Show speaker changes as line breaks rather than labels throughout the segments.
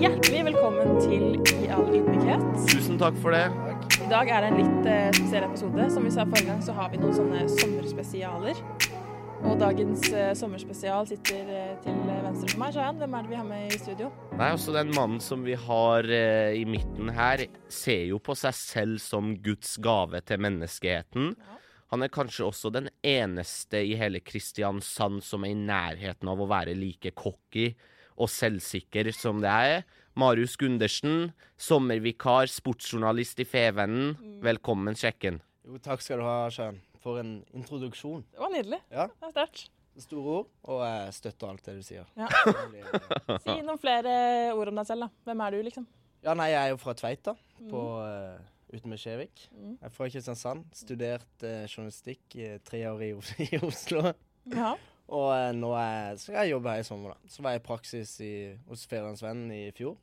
Hjertelig velkommen til I all ydmykhet.
Tusen takk for det.
I dag er det en litt eh, spesiell episode. Som vi sa forrige gang, så har vi noen sånne sommerspesialer. Og dagens eh, sommerspesial sitter eh, til venstre for meg. Shayan, hvem er det vi har med i studio?
Nei, altså Den mannen som vi har eh, i midten her, ser jo på seg selv som Guds gave til menneskeheten. Han er kanskje også den eneste i hele Kristiansand som er i nærheten av å være like cocky og selvsikker som det er. Marius Gundersen, sommervikar, sportsjournalist i Fevennen. Velkommen, sjekken.
Jo, takk skal du ha, Sjøen. For en introduksjon.
Det var nydelig.
Ja.
Det var sterkt.
Store ord, og jeg støtter alt det du sier.
Ja.
Ja,
Si noen flere ord om deg selv, da. Hvem er du, liksom?
nei, jeg er jo fra Tveita, på, eh, ute med Skjevik.
Mm.
Jeg er fra Kristiansand. Studert eh, journalistikk i tre år i, Os- i Oslo.
Ja.
Og eh, nå er, så skal jeg jobbe her i sommer, da. Så var jeg i praksis i, hos Fedrelandsvennen i fjor.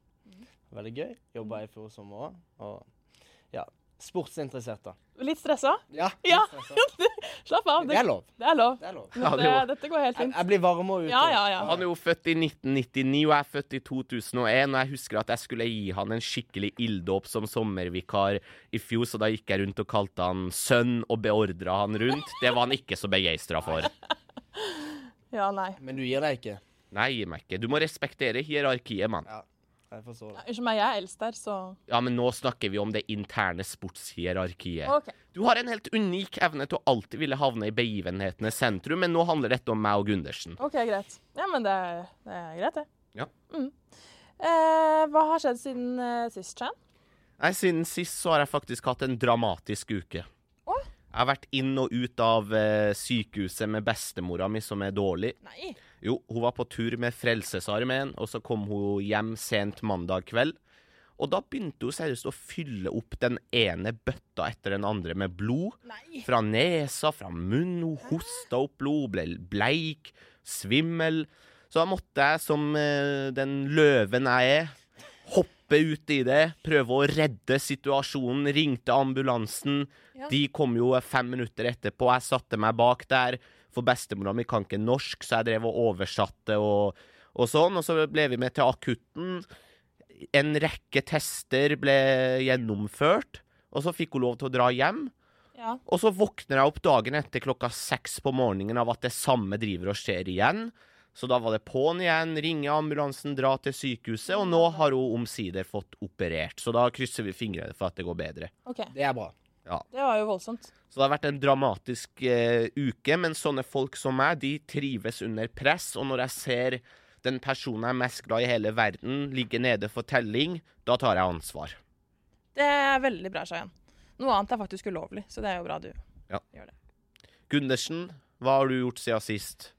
Veldig gøy. Jobba i fjor sommer òg. Og ja, sportsinteressert, da.
Litt stressa?
Ja,
Ja.
stressa.
Slapp av.
Det er lov.
Det er lov.
Det er lov.
Ja,
Dette,
det var-
dette går helt
Jeg,
fint.
jeg blir varmere ute.
Ja, ja, ja.
Han er jo født i 1999, og jeg er født i 2001. Og jeg husker at jeg skulle gi han en skikkelig ilddåp som sommervikar i fjor, så da gikk jeg rundt og kalte han sønn og beordra han rundt. Det var han ikke så begeistra for.
Ja, nei.
Men du gir deg ikke.
Nei, gi meg ikke. Du må respektere hierarkiet, mann.
Ja, jeg forstår det.
Unnskyld meg, jeg er eldst her, så
Ja, men nå snakker vi om det interne sportshierarkiet.
OK.
Du har en helt unik evne til å alltid ville havne i begivenhetenes sentrum, men nå handler dette om meg og Gundersen.
OK, greit. Ja, men det er, det er greit, det.
Ja.
Mm. Eh, hva har skjedd siden eh, sist, Chan?
Nei, siden sist så har jeg faktisk hatt en dramatisk uke.
Å?
Jeg har vært inn og ut av eh, sykehuset med bestemora mi, som er dårlig.
Nei.
Jo, hun var på tur med Frelsesarmeen, og så kom hun hjem sent mandag kveld. Og da begynte hun seriøst å fylle opp den ene bøtta etter den andre med blod.
Nei.
Fra nesa, fra munnen. Hun hosta opp blod, ble bleik, svimmel. Så da måtte jeg, som eh, den løven jeg er, hoppe ut i det. Prøve å redde situasjonen. Ringte ambulansen.
Ja.
De kom jo fem minutter etterpå. Jeg satte meg bak der. For bestemora mi kan ikke norsk, så jeg drev og oversatte og, og sånn. Og så ble vi med til akutten. En rekke tester ble gjennomført. Og så fikk hun lov til å dra hjem.
Ja.
Og så våkner jeg opp dagen etter klokka seks på morgenen av at det samme driver og skjer igjen. Så da var det på'n igjen, ringe ambulansen, dra til sykehuset, og nå har hun omsider fått operert. Så da krysser vi fingrene for at det går bedre.
OK.
Det er bra.
Det var jo voldsomt.
Så det har vært en dramatisk eh, uke, men sånne folk som meg, de trives under press, og når jeg ser den personen jeg er mest glad i i hele verden, ligge nede for telling, da tar jeg ansvar.
Det er veldig bra, Shayan. Noe annet er faktisk ulovlig, så det er jo bra du
Ja.
gjør det.
Gundersen, hva har du gjort siden sist?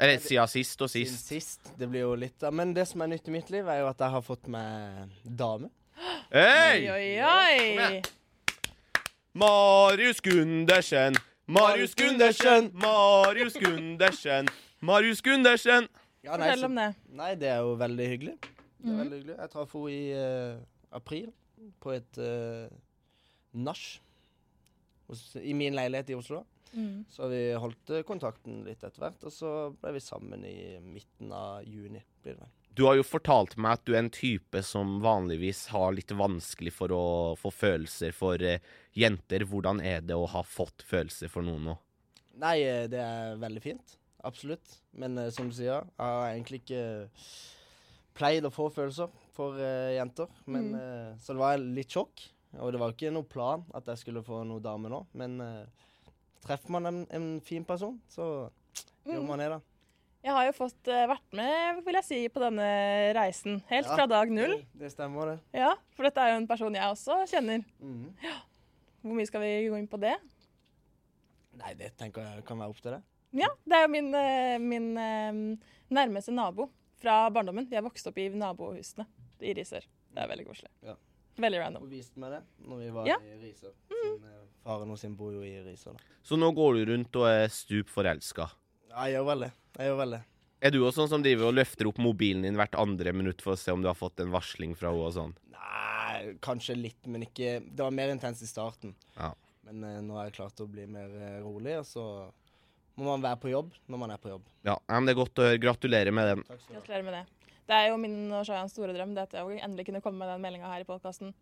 Eller siden sist og
Siden
sist.
sist. Det blir jo litt da. Men det som er nytt i mitt liv, er jo at jeg har fått meg dame.
Hei!
Oi, oi, oi.
igjen. Marius Gundersen, Marius Gundersen, Marius Gundersen, Marius Gundersen.
Ja, nei,
Fortell om det.
så, nei, det er jo veldig hyggelig. Det er veldig hyggelig. Jeg traff henne i eh, april på et uh, nach hos- i min leilighet i Oslo.
Mm.
Så vi holdt eh, kontakten litt etter hvert, og så ble vi sammen i midten av juni. blir det vel.
Du har jo fortalt meg at du er en type som vanligvis har litt vanskelig for å få følelser for eh, jenter. Hvordan er det å ha fått følelser for noen nå?
Nei, eh, det er veldig fint. Absolutt. Men eh, som du sier, jeg har egentlig ikke eh, pleid å få følelser for eh, jenter. Men,
Mm.
eh, så det var litt sjokk. Og det var ikke noe plan at jeg skulle få noe dame nå. Men eh, treffer man en, en fin person, så gjør
Mm.
man det, da.
Jeg har jo fått eh, vært med, vil jeg si, på denne reisen. Helt
Ja.
fra dag null.
Det stemmer, det.
Ja, for dette er jo en person jeg også kjenner.
Mhm.
Hvor mye skal vi gå inn på det?
Nei, det tenker jeg kan være opp til det.
Ja, det er jo min, eh, min eh, nærmeste nabo fra barndommen. Jeg vokste opp i nabohusene i Risør. Det er veldig koselig.
Ja.
Veldig random.
Hun viste meg det når vi var
Ja. Mm.
i Risør. Siden, eh, Faren hennes sin bor jo i Risør, da.
Så nå går du rundt og er stup forelska.
Ja, jeg gjør vel det. Jeg gjør vel det.
Er du også sånn som driver og løfter opp mobilen din hvert andre minutt for å se om du har fått en varsling fra henne og sånn?
Nei, kanskje litt, men ikke Det var mer intenst i starten.
Ja.
Men eh, nå har jeg klart å bli mer eh, rolig, og så må man være på jobb når man er på jobb.
Ja, ja, men det er godt å høre. Gratulerer med den.
Takk skal du ha.
Gratulerer med det. Det er jo min og Shayans store drøm det at jeg endelig kunne komme med den meldinga her i podkasten.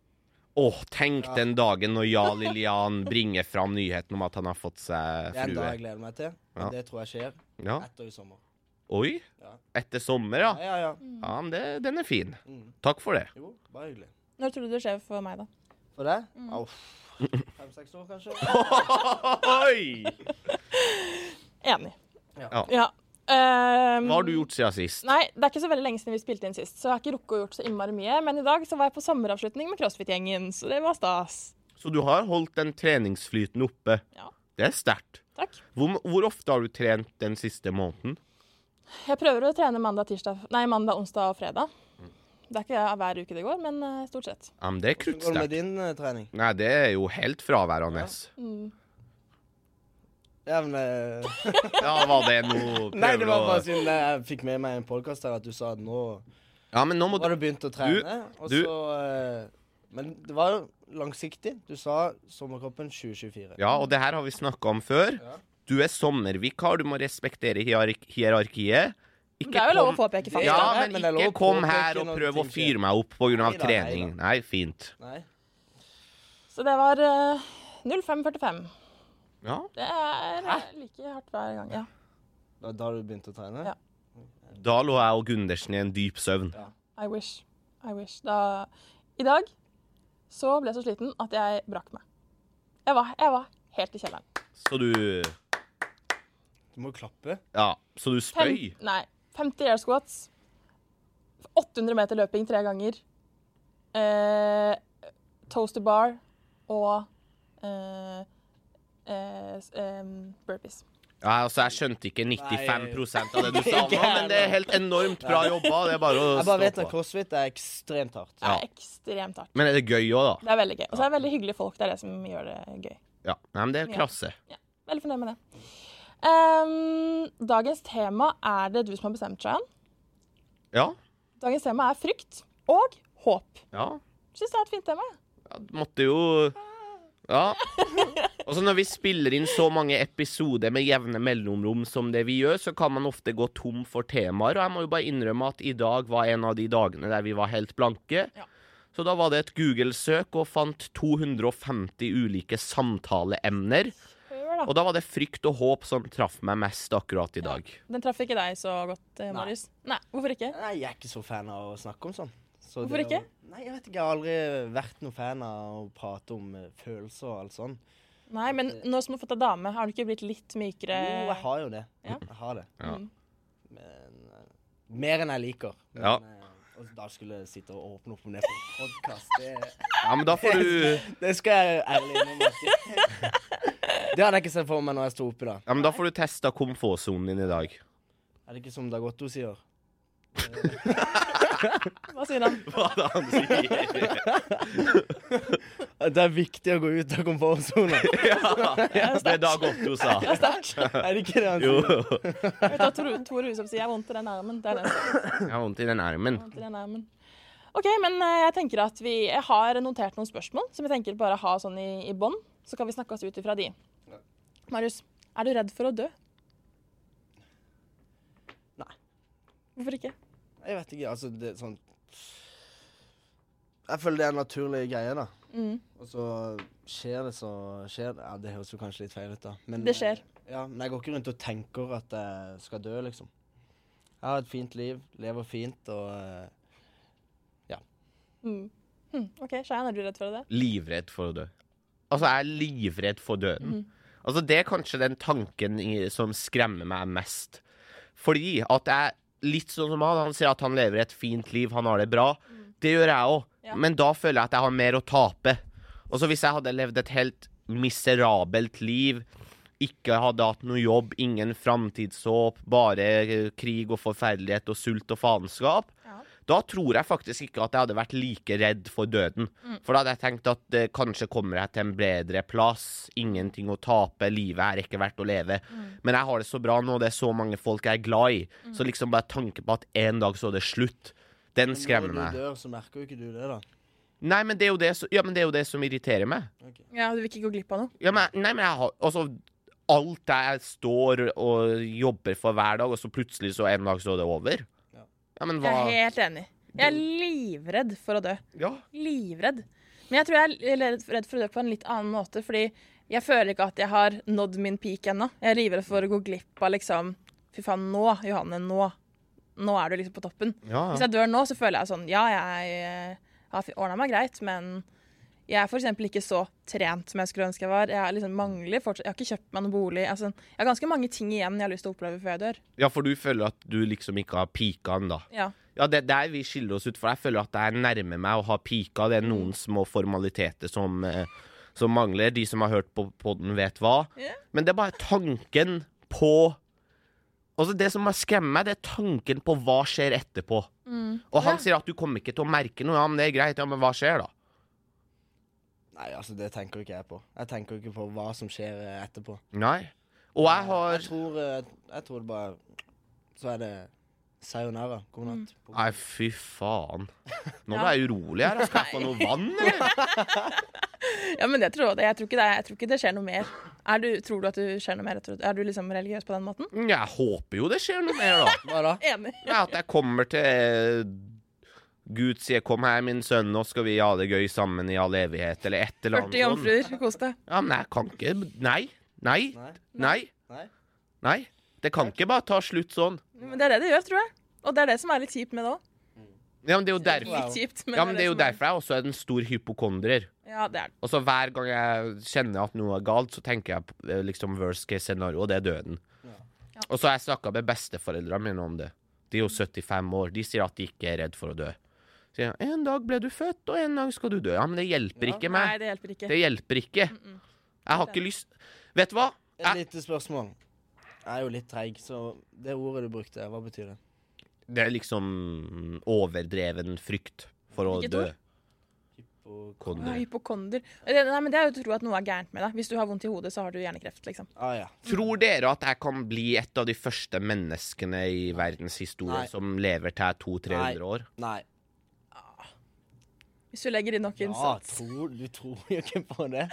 Åh, tenk den dagen når Jarl Lillian bringer fram nyheten om at han har fått seg
Det er en dag
frue.
jeg gleder meg til.
Ja.
og Det tror jeg skjer
Ja.
etter i sommer.
Oi.
Ja.
Etter sommer, ja.
ja, ja.
Ja, men det, den er fin.
Mm.
Takk for det.
Jo, bare hyggelig.
Når tror du det skjer for meg, da?
For deg? Au. Fem-seks år, kanskje?
Oi!
Enig.
Ja.
Ja. Ehm,
Hva har du gjort siden sist?
Nei, det er ikke så veldig lenge siden vi spilte inn sist, så jeg har ikke rukket å gjort så innmari mye. Men i dag så var jeg på sommeravslutning med CrossFit-gjengen, så det var stas.
Så du har holdt den treningsflyten oppe.
Ja.
Det er sterkt.
Takk.
Hvor, hvor ofte har du trent den siste måneden?
Jeg prøver å trene mandag, tirsdag, nei, mandag, onsdag og fredag. Det er ikke hver uke det går, men eh, stort sett.
Ja, men det er
Hvordan går det med
kruttsterkt.
din eh, trening?
Nei, det er jo helt fraværende.
Mm.
Ja, men, eh,
Ja, var det noe
nei, det
prøver
var
å
bare siden jeg fikk med meg i en podkast her at du sa at nå
Ja, men nå må du
har du begynt å trene. Og
du-
så eh, Men det var jo langsiktig. Du sa sommerkroppen 2024.
Ja, og det her har vi snakka om før.
Ja.
Du er sommervikar, du må respektere hierark hierarkiet. Ikke
Det er jo lov å
kom-
påpeke fakta.
Ja,
Nei,
men
men det er lov
ikke
å
kom
påpeke
her og
når
prøv å
ting skjer.
fyre meg opp pga.
Neida,
trening. Nei, fint.
Nei?
Så det var eh, 05.45.
Ja,
Det er eh, like hardt hver gang. Ja.
Da, da har du begynt å trene?
Ja.
Da lå jeg og Gundersen i en dyp søvn.
I wish. I wish. Da, I dag så ble jeg så sliten at jeg brakk meg. Jeg var, jeg var helt i kjelleren.
Så du
Du må klappe.
Ja, så du
Fem-
spøy?
Nei. 50 air squats. 800 meter løping tre ganger. Eh, toaster bar og eh, eh, s- em, burpees.
Ja, altså, jeg skjønte ikke 95 av det du sa nå, men det er helt enormt bra jobba. Det er bare å
Jeg bare vet
stå
at
på.
crossfit er ekstremt hardt.
Det er
Ja.
ekstremt hardt.
Men er det gøy òg, da?
Det er veldig gøy. Og så er det veldig hyggelige folk. Det er det som gjør det gøy.
Ja. Nei, men det er klasse.
Veldig fornøyd med det. Ehm, dagens tema er det du som har bestemt, Shayan.
Ja.
Dagens tema er frykt og håp.
Ja.
Syns det er et fint tema. jeg.
ja du måtte jo Ja. Og så når vi spiller inn så mange episoder med jevne mellomrom som det vi gjør, så kan man ofte gå tom for temaer, og jeg må jo bare innrømme at i dag var en av de dagene der vi var helt blanke.
Ja.
Så da var det et Google-søk og fant 250 ulike samtaleemner.
Hør da.
Og da var det frykt og håp som traff meg mest akkurat i dag.
Den traff ikke deg så godt, eh, Marius. Nei, hvorfor ikke?
Nei, jeg er ikke så fan av å snakke om sånn. Så
Hvorfor
det å-
ikke?
Nei, Jeg vet ikke, jeg har aldri vært noen fan av å prate om eh, følelser og alt sånn.
Nei, men nå som du har fått deg dame, har du ikke blitt litt
Jo,
mykere?
jeg har jo det.
Eh, Ja.
Jeg har det.
Ja.
Men, eh, mer enn jeg liker. Men,
Ja.
eh, og da skulle jeg sitte og åpne opp om det på en podkast. Det,
Ja, men da får du
det skal jeg ærlig innrømme. at jeg- Det hadde jeg ikke sett for meg når jeg sto oppi da.
Ja, men da får du testa komfortsonen din i dag.
Er det ikke som Dagotto sier?
Hva sier han?
Hva da han sier?
At det er viktig å gå ut av komfortsona.
Ja, det er Dag Otto sa.
Det er sterkt.
Er det ikke det han
Jo.
sier?
Jeg
Vet du hva Tor, Tor Husum sier? Jeg har vondt i den armen. Det er det han sier.
har vondt i den armen.
vondt i den armen. OK, men eh, jeg tenker at vi jeg har notert noen spørsmål som jeg tenker bare ha sånn i, i bånn. Så kan vi snakke oss ut ifra de. Marius, er du redd for å dø?
Nei.
Hvorfor ikke?
Jeg vet ikke, altså det er sånn Jeg føler det er en naturlig greie, da.
Mm.
Og så skjer det så skjer det. Ja, det høres jo kanskje litt feil ut, da. Men,
Det skjer.
eh, Ja, men jeg går ikke rundt og tenker at jeg skal dø, liksom. Jeg har et fint liv, lever fint og eh,
Mm. Hm, OK, Shayan, er du redd for å dø?
Livredd for å dø. Altså, jeg er livredd for døden. Altså, det er kanskje den tanken i, som skremmer meg mest. Fordi at jeg Litt sånn som han. Han sier at han lever et fint liv, han har det bra. Det gjør jeg òg.
Ja.
Men da føler jeg at jeg har mer å tape. Og så hvis jeg hadde levd et helt miserabelt liv, ikke hadde hatt noe jobb, ingen framtidshåp, bare eh, krig og forferdelighet og sult og faenskap,
Ja.
da tror jeg faktisk ikke at jeg hadde vært like redd for døden. For da hadde jeg tenkt at eh, kanskje kommer jeg til en bedre plass, ingenting å tape, livet er ikke verdt å leve. Men jeg har det så bra nå, det er så mange folk jeg er glad i. Så liksom bare tanken på at en dag så er det slutt, den skremmer
Når
meg.
du dør, så merker jo ikke du det, da.
Nei, men det er jo det, som- ja, men det, er jo det som irriterer meg.
Ja, du vil ikke gå glipp av noe?
Ja, men, nei, men jeg har Altså, alt jeg står og jobber for hver dag, og så plutselig så en dag så er det over.
Ja.
Ja, men hva
Jeg er helt enig. Jeg er livredd for å dø.
Ja.
Livredd. Men jeg tror jeg er redd redd for å dø på en litt annen måte, fordi jeg føler ikke at jeg har nådd min peak ennå. Jeg er livredd for å gå glipp av liksom Fy faen, nå, Johanne, nå. Nå er du liksom på toppen.
ja.
Hvis jeg dør nå, så føler jeg sånn Ja, jeg eh, har ordna meg greit, men jeg er for eksempel ikke så trent som jeg skulle ønske jeg var. Jeg, er liksom mangler fortsatt, jeg har ikke kjøpt meg noen bolig. Altså, jeg har ganske mange ting igjen jeg har lyst til å oppleve før jeg dør.
ja, for du føler at du liksom ikke har pika ennå.
Ja.
Ja, det er der vi skiller oss ut, for jeg føler at jeg nærmer meg å ha pika. Det er noen små formaliteter som, eh, som mangler. De som har hørt på podden, vet hva.
Ja.
Men det er bare tanken på Altså Det som skremmer meg, det er tanken på hva skjer etterpå. Og han
Mm. Ja.
sier at du kommer ikke til å merke noe. Ja, men det er greit. Ja, men hva skjer da?
Nei, altså, det tenker ikke jeg på. Jeg tenker ikke på hva som skjer eh, etterpå.
Nei. Og jeg har
Jeg tror, eh, jeg tror det bare Så er det sayonara. God natt.
Mm. Nei, fy faen. Nå ble jeg urolig her. Skal jeg få noe vann, eller?
ja, men det tror jeg, jeg, tror ikke det, jeg tror ikke det skjer noe mer. Er du, tror du at du skjer noe mer? etter- Er du liksom religiøs på den måten?
Jeg håper jo det skjer noe mer, da.
Hva da?
Enig.
Ja, at jeg kommer til eh, Gud sier 'kom her, min sønn, nå skal vi ha det gøy sammen i all evighet', eller et eller annet
40
sånt.
jomfruer. Kos deg.
Ja, men jeg kan ikke Nei. Nei.
Nei?
Nei.
Nei?
Nei. Det kan ikke bare ta slutt sånn.
Men det er det det gjør, tror jeg. Og det er det som er litt kjipt med det òg.
Ja, men det er jo derfor,
Wow.
Litt kjipt, men
ja, men det er liksom- jo
som
derfor jeg også er en stor hypokondrer.
Ja, det er det.
Altså Hver gang jeg kjenner at noe er galt, så tenker jeg på, eh, liksom worst case scenario, og det er døden.
Ja.
Og så har jeg snakka med besteforeldrene mine om det. De er jo 75 år. De sier at de ikke er redd for å dø. Sier jeg, En dag ble du født, og en dag skal du dø. Ja, men det hjelper ikke meg.
Nei, det Mm, hjelper ikke.
Det hjelper ikke. Jeg har ikke lyst Vet du hva?
Et
Jeg,
lite spørsmål. Jeg er jo litt treig, så det ordet du brukte, hva betyr det?
det er liksom overdreven frykt for å
Hvilket
dø.
ord?
Hypok...
Ja,
Konder.
hypokonder. Det, nei, men det er jo å tro at noe er gærent med deg. Hvis du har vondt i hodet, så har du hjernekreft. liksom.
Ah, ja.
Tror dere at jeg kan bli et av de første menneskene i verdens historie
Nei.
som lever til jeg er 200-300
Nei.
år?
Nei.
Hvis du legger inn nok
Ja,
innsats.
tror, du tror jo ikke på det.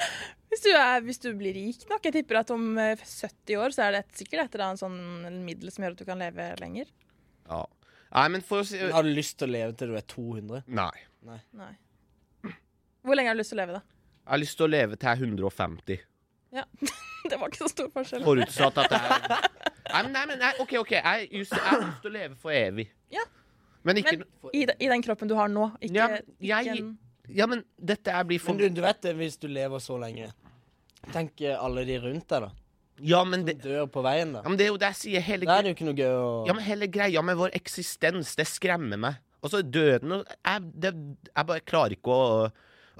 Hvis du, er, hvis du blir rik nok. Jeg tipper at om eh, 70 år så er det et, sikkert et eller annet sånn middel som gjør at du kan leve lenger.
Ja. Nei, men for å si
Men Har du lyst til å leve til du er 200?
Nei.
Nei. Hvor lenge har du lyst til å leve, da?
Jeg har lyst til å leve til jeg er 150.
Ja. det var ikke så stor forskjell.
Forutsatt at jeg Nei, men, nei, men nei, OK, OK. Jeg, just, jeg har lyst til å leve for evig.
Ja.
Men ikke
Men i, de- i den kroppen du har nå. Ikke,
Ja, men jeg-
ikke en,
Ja, men dette her blir for
Men du, du vet det, hvis du lever så lenge Tenk eh, alle de rundt deg, da.
Ja, men det,
Dør på veien,
ja,
da.
men det er jo det jeg sier. Hele
Da er det jo ikke noe gøy å
Ja, men hele greia med vår eksistens, det skremmer meg. Altså, døden og- jeg, det, jeg bare klarer ikke å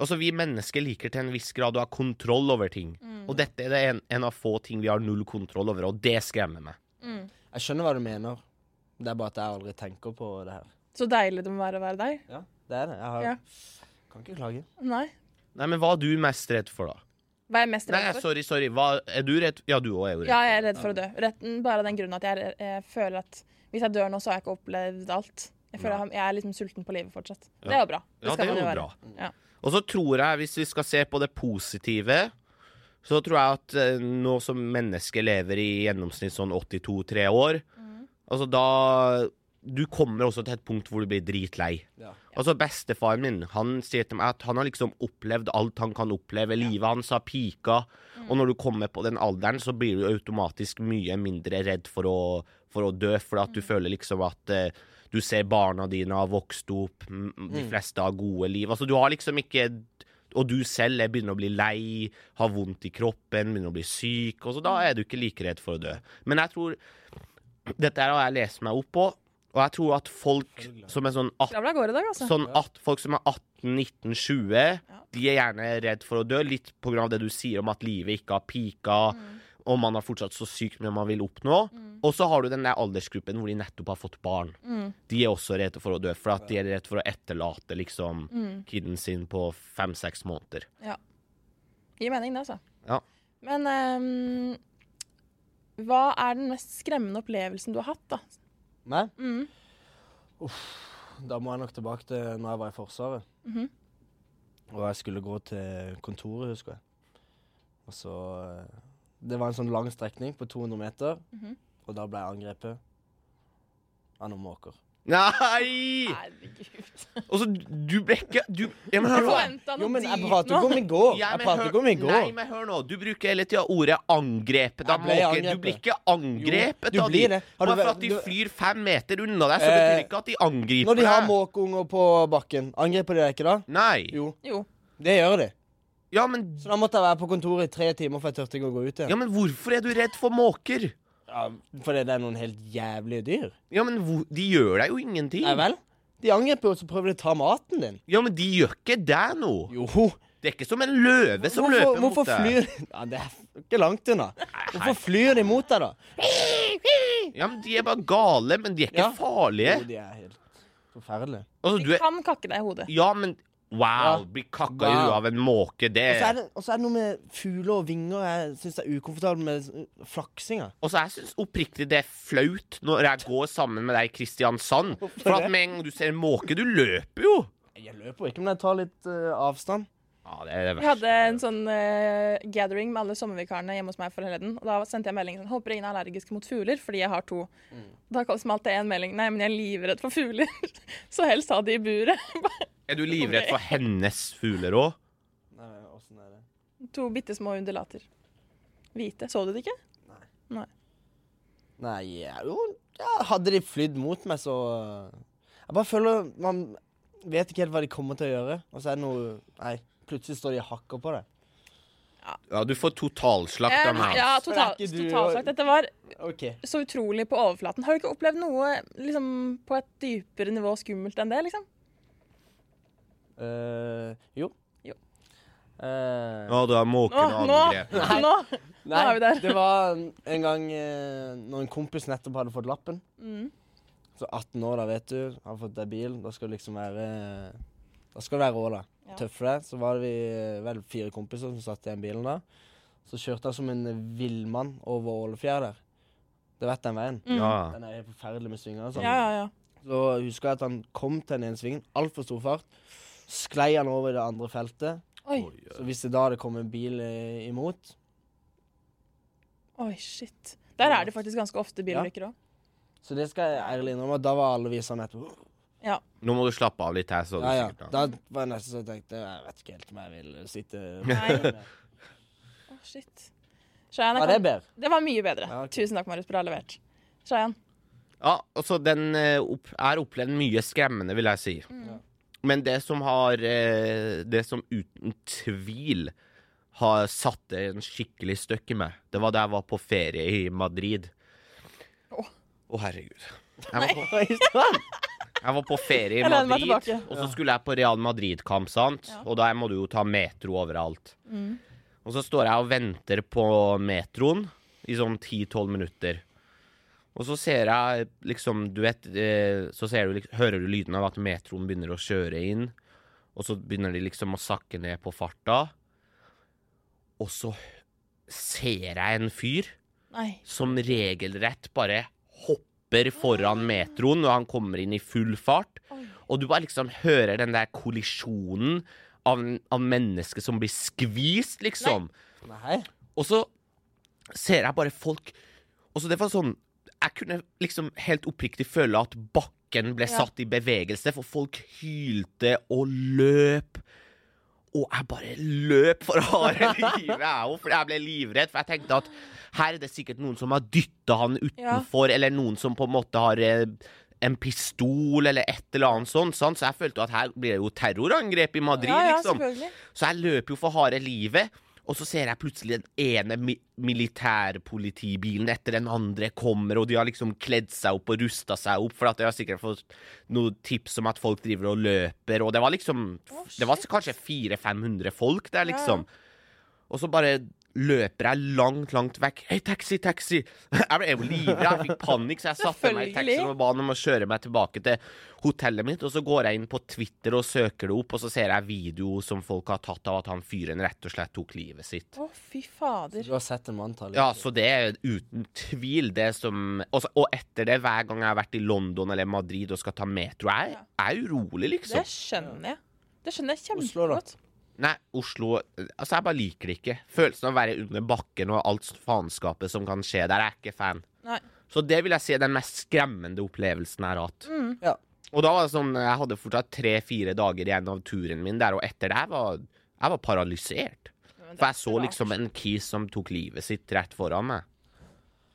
Altså, vi mennesker liker til en viss grad å ha kontroll over ting.
Mm.
Og dette er det en, en av få ting vi har null kontroll over, og det skremmer meg.
Jeg skjønner hva du mener. Det er bare at jeg aldri tenker på det her.
så deilig det må være å være deg.
Ja, det er det. Jeg har...
Ja.
kan ikke klage.
Nei.
Nei, men hva er du mest redd for, da?
Hva er jeg mest
Nei,
redd for?
sorry, sorry. Hva, er du redd? Ja, du òg er jo redd.
Ja, jeg er redd for å dø. Retten, bare av den grunn at jeg, er- jeg føler at hvis jeg dør nå, så har jeg ikke opplevd alt. Jeg føler jeg, har- jeg er liksom sulten på livet fortsatt. Det er jo bra.
Ja, det
skal
er
man
jo
være.
bra.
Ja.
Og så tror jeg, hvis vi skal se på det positive, så tror jeg at eh, nå som mennesket lever i gjennomsnitt sånn 82-3 år,
Mm.
altså da Du kommer også til et punkt hvor du blir dritlei.
Ja.
Altså Bestefaren min han sier til meg at han har liksom opplevd alt han kan oppleve. Livet hans har pika. Og når du kommer på den alderen, så blir du automatisk mye mindre redd for å, for å dø. For at du føler liksom at eh, du ser barna dine har vokst opp, m- de fleste har gode liv. Altså du har liksom ikke og du selv er- begynner å bli lei, har vondt i kroppen, begynner å bli syk. Og så da er du ikke like redd for å dø. Men jeg tror Dette her har jeg lest meg opp på, og jeg tror at folk som er sånn 18
Skravla går i dag, altså.
Sånn at folk som er 18-19-20, de er gjerne redd for å dø. Litt på grunn av det du sier om at livet ikke har pika, og man har fortsatt så sykt mye man vil oppnå. Og så har du den der aldersgruppen hvor de nettopp har fått barn.
Mm,
De er også redde for å dø, for at de er redde for å etterlate liksom
mm.
kiden sin på fem-seks måneder.
Gir mening, det, altså.
Ja.
Men ehm, hva er den mest skremmende opplevelsen du har hatt, da?
Nei?
Mm.
Da må jeg nok tilbake til når jeg var i Forsvaret.
Mhm.
Og jeg skulle gå til kontoret, husker jeg. Og så eh, Det var en sånn lang strekning på 200 meter,
Mhm.
og da ble jeg angrepet av noen måker.
Nei!
Herregud.
Altså, du ble ikke du, ja, men,
Jeg
hør nå.
forventa
Jo,
noe
men
dit
jeg prater ikke
nå.
om i går.
Ja,
Jeg
men
prater
hør-
ikke om i går.
Nei, men hør nå. Du bruker hele tida ordet angrep. Da
Jeg ble
må ikke, du
angrepet.
blir ikke angrepet
Jo, du
av
blir
de.
det. Har du
Bare for
vært-
at de
du-
flyr fem meter unna deg, så betyr det
Eh,
ikke at de angriper
Når de har
deg.
måkeunger på bakken, angriper de deg ikke da?
Nei.
Jo,
Jo.
det gjør de.
Ja men,
Så da måtte jeg være på kontoret i tre timer for jeg turte ikke å gå ut
ja,
igjen.
men hvorfor er du redd for måker?
Ja, fordi det er noen helt jævlige dyr.
Ja, men hvor, De gjør deg jo ingenting.
Nei vel? De angriper jo, så prøver de å ta maten din.
Ja, men De gjør ikke deg noe.
Jo.
Det er ikke som en løve som
Hvorfor,
løper mot
hvorfor
deg.
flyr ja, Det er ikke langt unna. Hvorfor flyr de mot deg, da?
Ja, men De er bare gale, men de er ikke
Ja.
farlige.
Jo, de er helt forferdelige.
Altså, du
De
er,
kan kakke deg i hodet.
ja, men wow.
Ja.
Bli kakka i huet
Wow.
av en måke, det
Og så er det- og så er det noe med fugler og vinger jeg syns er ukomfortabel med eh, flaksinga.
Og så jeg syns oppriktig det er flaut når jeg går sammen med deg i Kristiansand. For at
det?
med en gang du ser en måke, du løper jo.
Jeg løper ikke, men jeg tar litt eh, avstand.
Ja, det er det
Vi hadde
verste.
en sånn eh, gathering med alle sommervikarene hjemme hos meg forleden. Og da sendte jeg melding sånn Håper ingen er allergiske mot fugler, fordi jeg har to. Da kom- smalt det en melding Nei, men jeg er livredd for fugler. Så helst ha de i buret. Bare
Er du livredd for hennes fugler òg?
Nei, åssen er det?
to bitte små undulater. Hvite. Så du det ikke?
Nei, ja, jo ja, Hadde de flydd mot meg, så eh, Jeg bare føler Man vet ikke helt hva de kommer til å gjøre. Og så er det noe Nei, plutselig står de og hakker på deg.
Ja, du får totalslakt av
Eh,
meg.
ja,
ass.
total,
Men er ikke du-
totalsagt. Dette var
OK. eh,
så utrolig på overflaten. Har du ikke opplevd noe liksom, på et dypere nivå skummelt enn det, liksom?
Eh, jo.
Jo.
Eh,
Å, da er
Nå,
måken
nå,
angrepet.
nå.
nei,
er vi der.
det var um, en gang eh, når en kompis nettopp hadde fått lappen.
Mm.
Så 18 år, da, vet du. Har fått deg bil. Da skal du liksom være Da skal du være rå, da.
Ja.
Tøff for deg. Så var det vi eh, vel fire kompiser som satt i den bilen da. Så kjørte han som en villmann over Ålefjær der. Det vet den veien.
Mm.
Ja.
Den er helt forferdelig med svinger og
Ja,
sånn.
ja, ja.
Så husker jeg at han kom til den ene svingen, altfor stor fart. Sklei han over i det andre feltet.
Oi,
Oi, ja.
Så hvis det da hadde kommet en bil eh, imot
oi, shit. Der er det faktisk ganske ofte bilulykker òg.
Så det skal jeg ærlig innrømme, at da var alle vi sånn et
Ja.
Nå må du slappe av litt her. så du
Ja, ja.
sikkert da.
Da var jeg nesten så jeg tenkte Jeg vet ikke helt om jeg vil sitte
Nei. Å, Ah, shit. Shayan, jeg
Var det
kan...
bedre?
Det var mye bedre.
Ja, ok.
Tusen takk, Marius, bra levert. Shayan.
Ja, altså, den eh, opp, er opplevd mye skremmende, vil jeg si.
Mm.
Ja.
Men det som har eh, Det som uten tvil har satt en skikkelig støkk i meg, det var da jeg var på ferie i Madrid. Å,
Åh.
herregud. Jeg var, på,
Oi, sann!
jeg var på ferie i
Jeg lener meg
Madrid,
tilbake.
og så skulle jeg på Real Madrid-kamp, sant?
Ja. Mm.
Og der må du jo ta metro overalt. Og så står jeg og venter på metroen i sånn 10-12 minutter. Og så ser jeg liksom Du vet, eh, så ser du, liksom- hører du lyden av at metroen begynner å kjøre inn. Og så begynner de liksom å sakke ned på farta. Og så ser jeg en fyr
Nei.
som regelrett bare hopper foran metroen når han kommer inn i full fart.
Oi.
Og du bare liksom hører den der kollisjonen av, av mennesket som blir skvist, liksom.
Nei.
Og så ser jeg bare folk Og så det var sånn Jeg kunne liksom helt oppriktig føle at bakken ble
Ja.
satt i bevegelse, for folk hylte og løp. Og jeg bare løp for harde livet, jeg òg, for jeg ble livredd. For jeg tenkte at her er det sikkert noen som har dytta han utenfor, eller noen som på en måte har eh, en pistol, eller et eller annet sånt. sant? Så jeg følte at her blir det jo terrorangrep i Madrid,
Ja, ja,
liksom.
selvfølgelig.
Så jeg løper jo for harde livet, og så ser jeg plutselig den ene mi militærpolitibilen etter den andre kommer, og de har liksom kledd seg opp og rusta seg opp, for at jeg har sikkert fått noen tips om at folk driver og løper, og det var liksom
Å,
Det var
shit.
kanskje 400-500 folk der, liksom. Og så bare løper jeg langt, langt vekk. Hei, taxi, taxi! Jeg ble jo livredd, jeg fikk panikk, så jeg satte meg
Selvfølgelig.
i taxien og ba han om å kjøre meg tilbake til hotellet mitt. Og så går jeg inn på Twitter og søker det opp, og så ser jeg video som folk har tatt av at han fyren rett og slett tok livet sitt.
Å, fy fader.
Du har sett en mann ta litt
Ja, så det er uten tvil det som Og, så, og etter det, hver gang jeg har vært i London eller Madrid og skal ta metro, jeg jeg er urolig, liksom.
Det skjønner jeg. Det skjønner jeg
Oslo, da.
kjempegodt.
Nei, Oslo Altså, jeg bare liker det ikke. Følelsen av å være under bakken og alt faenskapet som kan skje der, jeg er ikke fan.
Nei.
Så det vil jeg si er den mest skremmende opplevelsen jeg har hatt.
Mm.
Ja.
Og da var det sånn, jeg hadde fortsatt tre-fire dager igjen av turen min der, og etter det jeg var jeg var paralysert. For jeg så liksom en kis som tok livet sitt rett foran meg.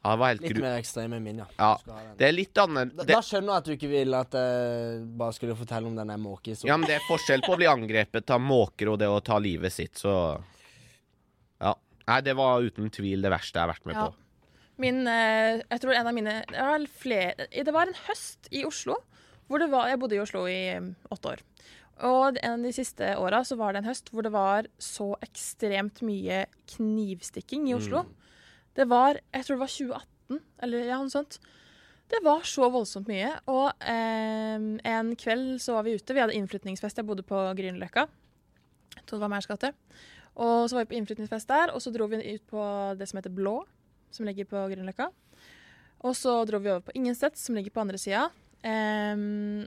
Ja, det var helt
Litt
gru...
mer ekstrem enn min, ja.
Ja,
Du skal ha den.
det er litt annet...
Da,
Det...
da skjønner jeg at du ikke vil at jeg bare skulle fortelle om denne måkehistorien.
Ja, men det er forskjell på å bli angrepet av måker og det å ta livet sitt, så Ja. Nei, det var uten tvil det verste jeg har vært med
Ja.
på.
Min, eh, jeg tror en av mine det var, vel flere, det var en høst i Oslo. Hvor det var, jeg bodde i Oslo i eh, åtte år. Og en av de siste åra så var det en høst hvor det var så ekstremt mye knivstikking i Oslo.
Mm.
Det var Jeg tror det var 2018, eller ja, noe sånt. Det var så voldsomt mye. Og eh, en kveld så var vi ute. Vi hadde innflytningsfest. Jeg bodde på Grünerløkka. Jeg tror det var Meiers gate. Og så var vi på innflytningsfest der, og så dro vi ut på det som heter Blå som ligger på Grünerløkka. Og så dro vi over på Ingensteds, som ligger på andre sida. Um,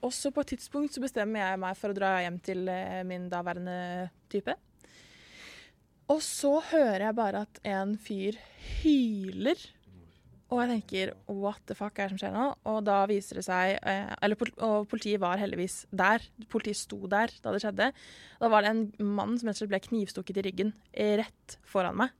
og så på et tidspunkt så bestemmer jeg meg for å dra hjem til eh, min daværende type. Og så hører jeg bare at en fyr hyler. Og jeg tenker what the fuck er det som skjer nå? Og da viser det seg eh, eller, pol- Og politiet var heldigvis der. Politiet sto der da det skjedde. Da var det en mann som rett og slett ble knivstukket i ryggen eh, rett foran meg.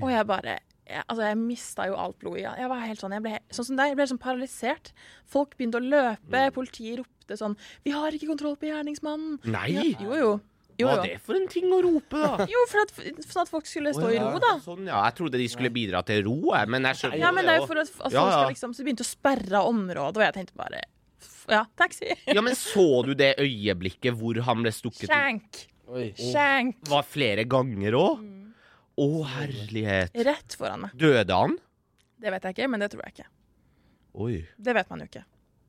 Og jeg bare jeg, Altså, jeg mista jo alt blodet. Jeg var helt sånn, jeg ble, sånn som deg, jeg ble helt sånn paralysert. Folk begynte å løpe,
Mm.
politiet ropte sånn 'Vi har ikke kontroll på gjerningsmannen'.
Nei!
Ja, jo, jo. Jo,
Hva er
jo.
det for en ting å rope, da?
jo for at, sånn at folk skulle stå
Å,
i
ja.
ro, da.
Sånn, ja. Jeg trodde de skulle bidra til ro, jeg, men jeg skjønner
Ja, men det er jo
også.
for at, at folk
Ja, ja.
skal liksom Så de begynte å sperre av området, og jeg tenkte bare f- Ja, taxi.
Ja, men så du det øyeblikket hvor han ble stukket i
Shank.
Oi.
Shank.
Var flere ganger òg? Å, herlighet.
Rett foran meg.
Døde han?
Det vet jeg ikke, men det tror jeg ikke.
Oi.
Det vet man jo ikke.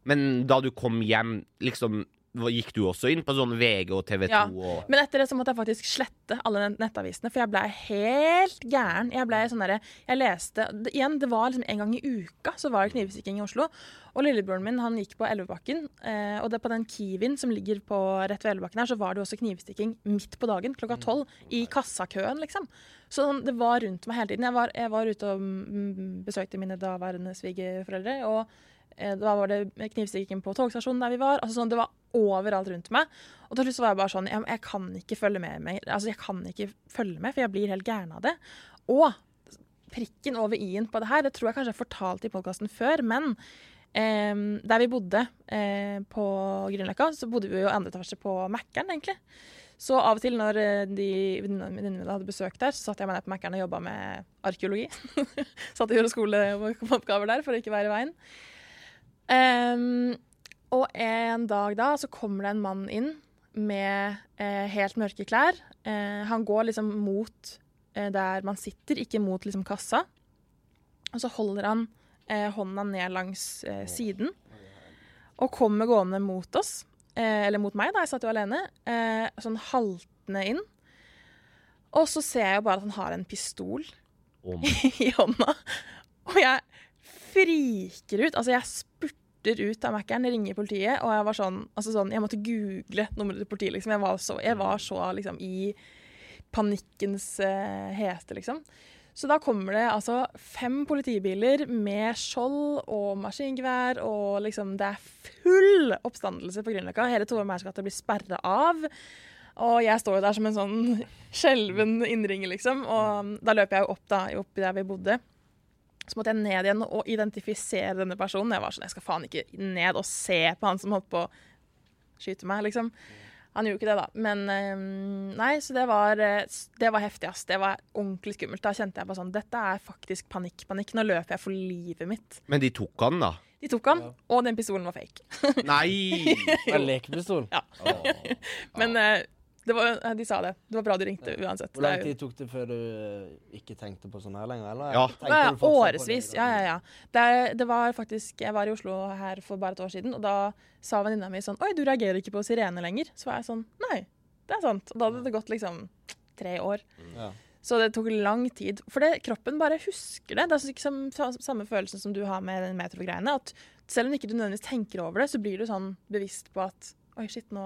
Men da du kom hjem, liksom hva- Gikk du også inn på sånn VG og TV 2
Ja.
og
Men etter det så måtte jeg faktisk slette alle den- nettavisene, for jeg blei helt gæren. Jeg blei sånn derre Jeg leste det, Igjen, det var liksom en gang i uka så var det knivstikking i Oslo. Og lillebroren min han gikk på Elvebakken, eh, og det på den Kiwien som ligger på rett ved Elvebakken her, så var det jo også knivstikking midt på dagen klokka tolv. I kassakøen, liksom. Så sånn, det var rundt meg hele tiden. Jeg var, jeg var ute og mm, besøkte mine daværende svigerforeldre. og Eh, Da var det knivstikking på togstasjonen der vi var. Altså sånn, det var overalt rundt meg. Og til slutt så var jeg bare sånn Jeg, jeg kan ikke følge med, mer. altså, jeg kan ikke følge med, for jeg blir helt gæren av det. Og prikken over i-en på det her, det tror jeg kanskje jeg fortalte i podkasten før, men eh, der vi bodde eh, på Grünerløkka, så bodde vi jo i andre etasje på Mækkern, egentlig. Så av og til når eh, de venninnene mine hadde besøk der, så satt jeg meg ned på Mækkern og jobba med arkeologi. satt og gjorde skoleoppgaver der for å ikke være i veien. Ehm, og en dag da så kommer det en mann inn med eh, helt mørke klær. Eh, han går liksom mot eh, der man sitter, ikke mot liksom kassa. Og så holder han eh, hånda ned langs eh, siden og kommer gående mot oss. Eh, eller mot meg, da. Jeg satt jo alene. Eh, sånn haltende inn. Og så ser jeg jo bare at han har en pistol
om
i hånda. Og jeg friker ut. Altså, jeg spurter ut av Mac-en, ringer politiet, og jeg var sånn, altså sånn Jeg måtte google nummeret til politiet, liksom. Jeg var så, jeg var så liksom i panikkens eh, hete, liksom. Så da kommer det altså fem politibiler med skjold og maskingevær, og liksom det er full oppstandelse på Grünerløkka. Hele Tove Meyers gate blir sperra av. Og jeg står jo der som en sånn skjelven innringer, liksom. Og da løper jeg jo opp da, opp der vi bodde. Så måtte jeg ned igjen og identifisere denne personen. Jeg var sånn, jeg skal faen ikke ned og se på han som holdt på å skyte meg, liksom. Han gjorde ikke det, da. Men eh, nei, så det var, eh, det var heftig, ass. Det var ordentlig skummelt. Da kjente jeg bare sånn Dette er faktisk panikk, panikk. Nå løper jeg for livet mitt.
Men de tok han, da.
De tok han, og den pistolen var fake.
Nei!
Det var lekepistol.
Men eh, det var, de sa det. Det var bra du ringte uansett.
Hvor lang
Det er jo-
tid tok det før du eh, ikke tenkte på sånn her lenger? Eller?
Ja.
Tenkte
Ja, ja,
du fortsatt på det
årevis.
i
Ja,
dag?
ja, ja. Det, det var faktisk Jeg var i Oslo her for bare et år siden, og da sa venninna mi sånn Oi, du reagerer ikke på sirene lenger. Så var jeg sånn Nei, det er sant. Og da hadde det gått liksom tre år.
Ja.
Så det tok lang tid. For det, kroppen bare husker det. Det er ikke som, sa- samme følelsen som du har med den metrogreiene. At selv om ikke du nødvendigvis tenker over det, så blir du sånn bevisst på at Oi, shit, nå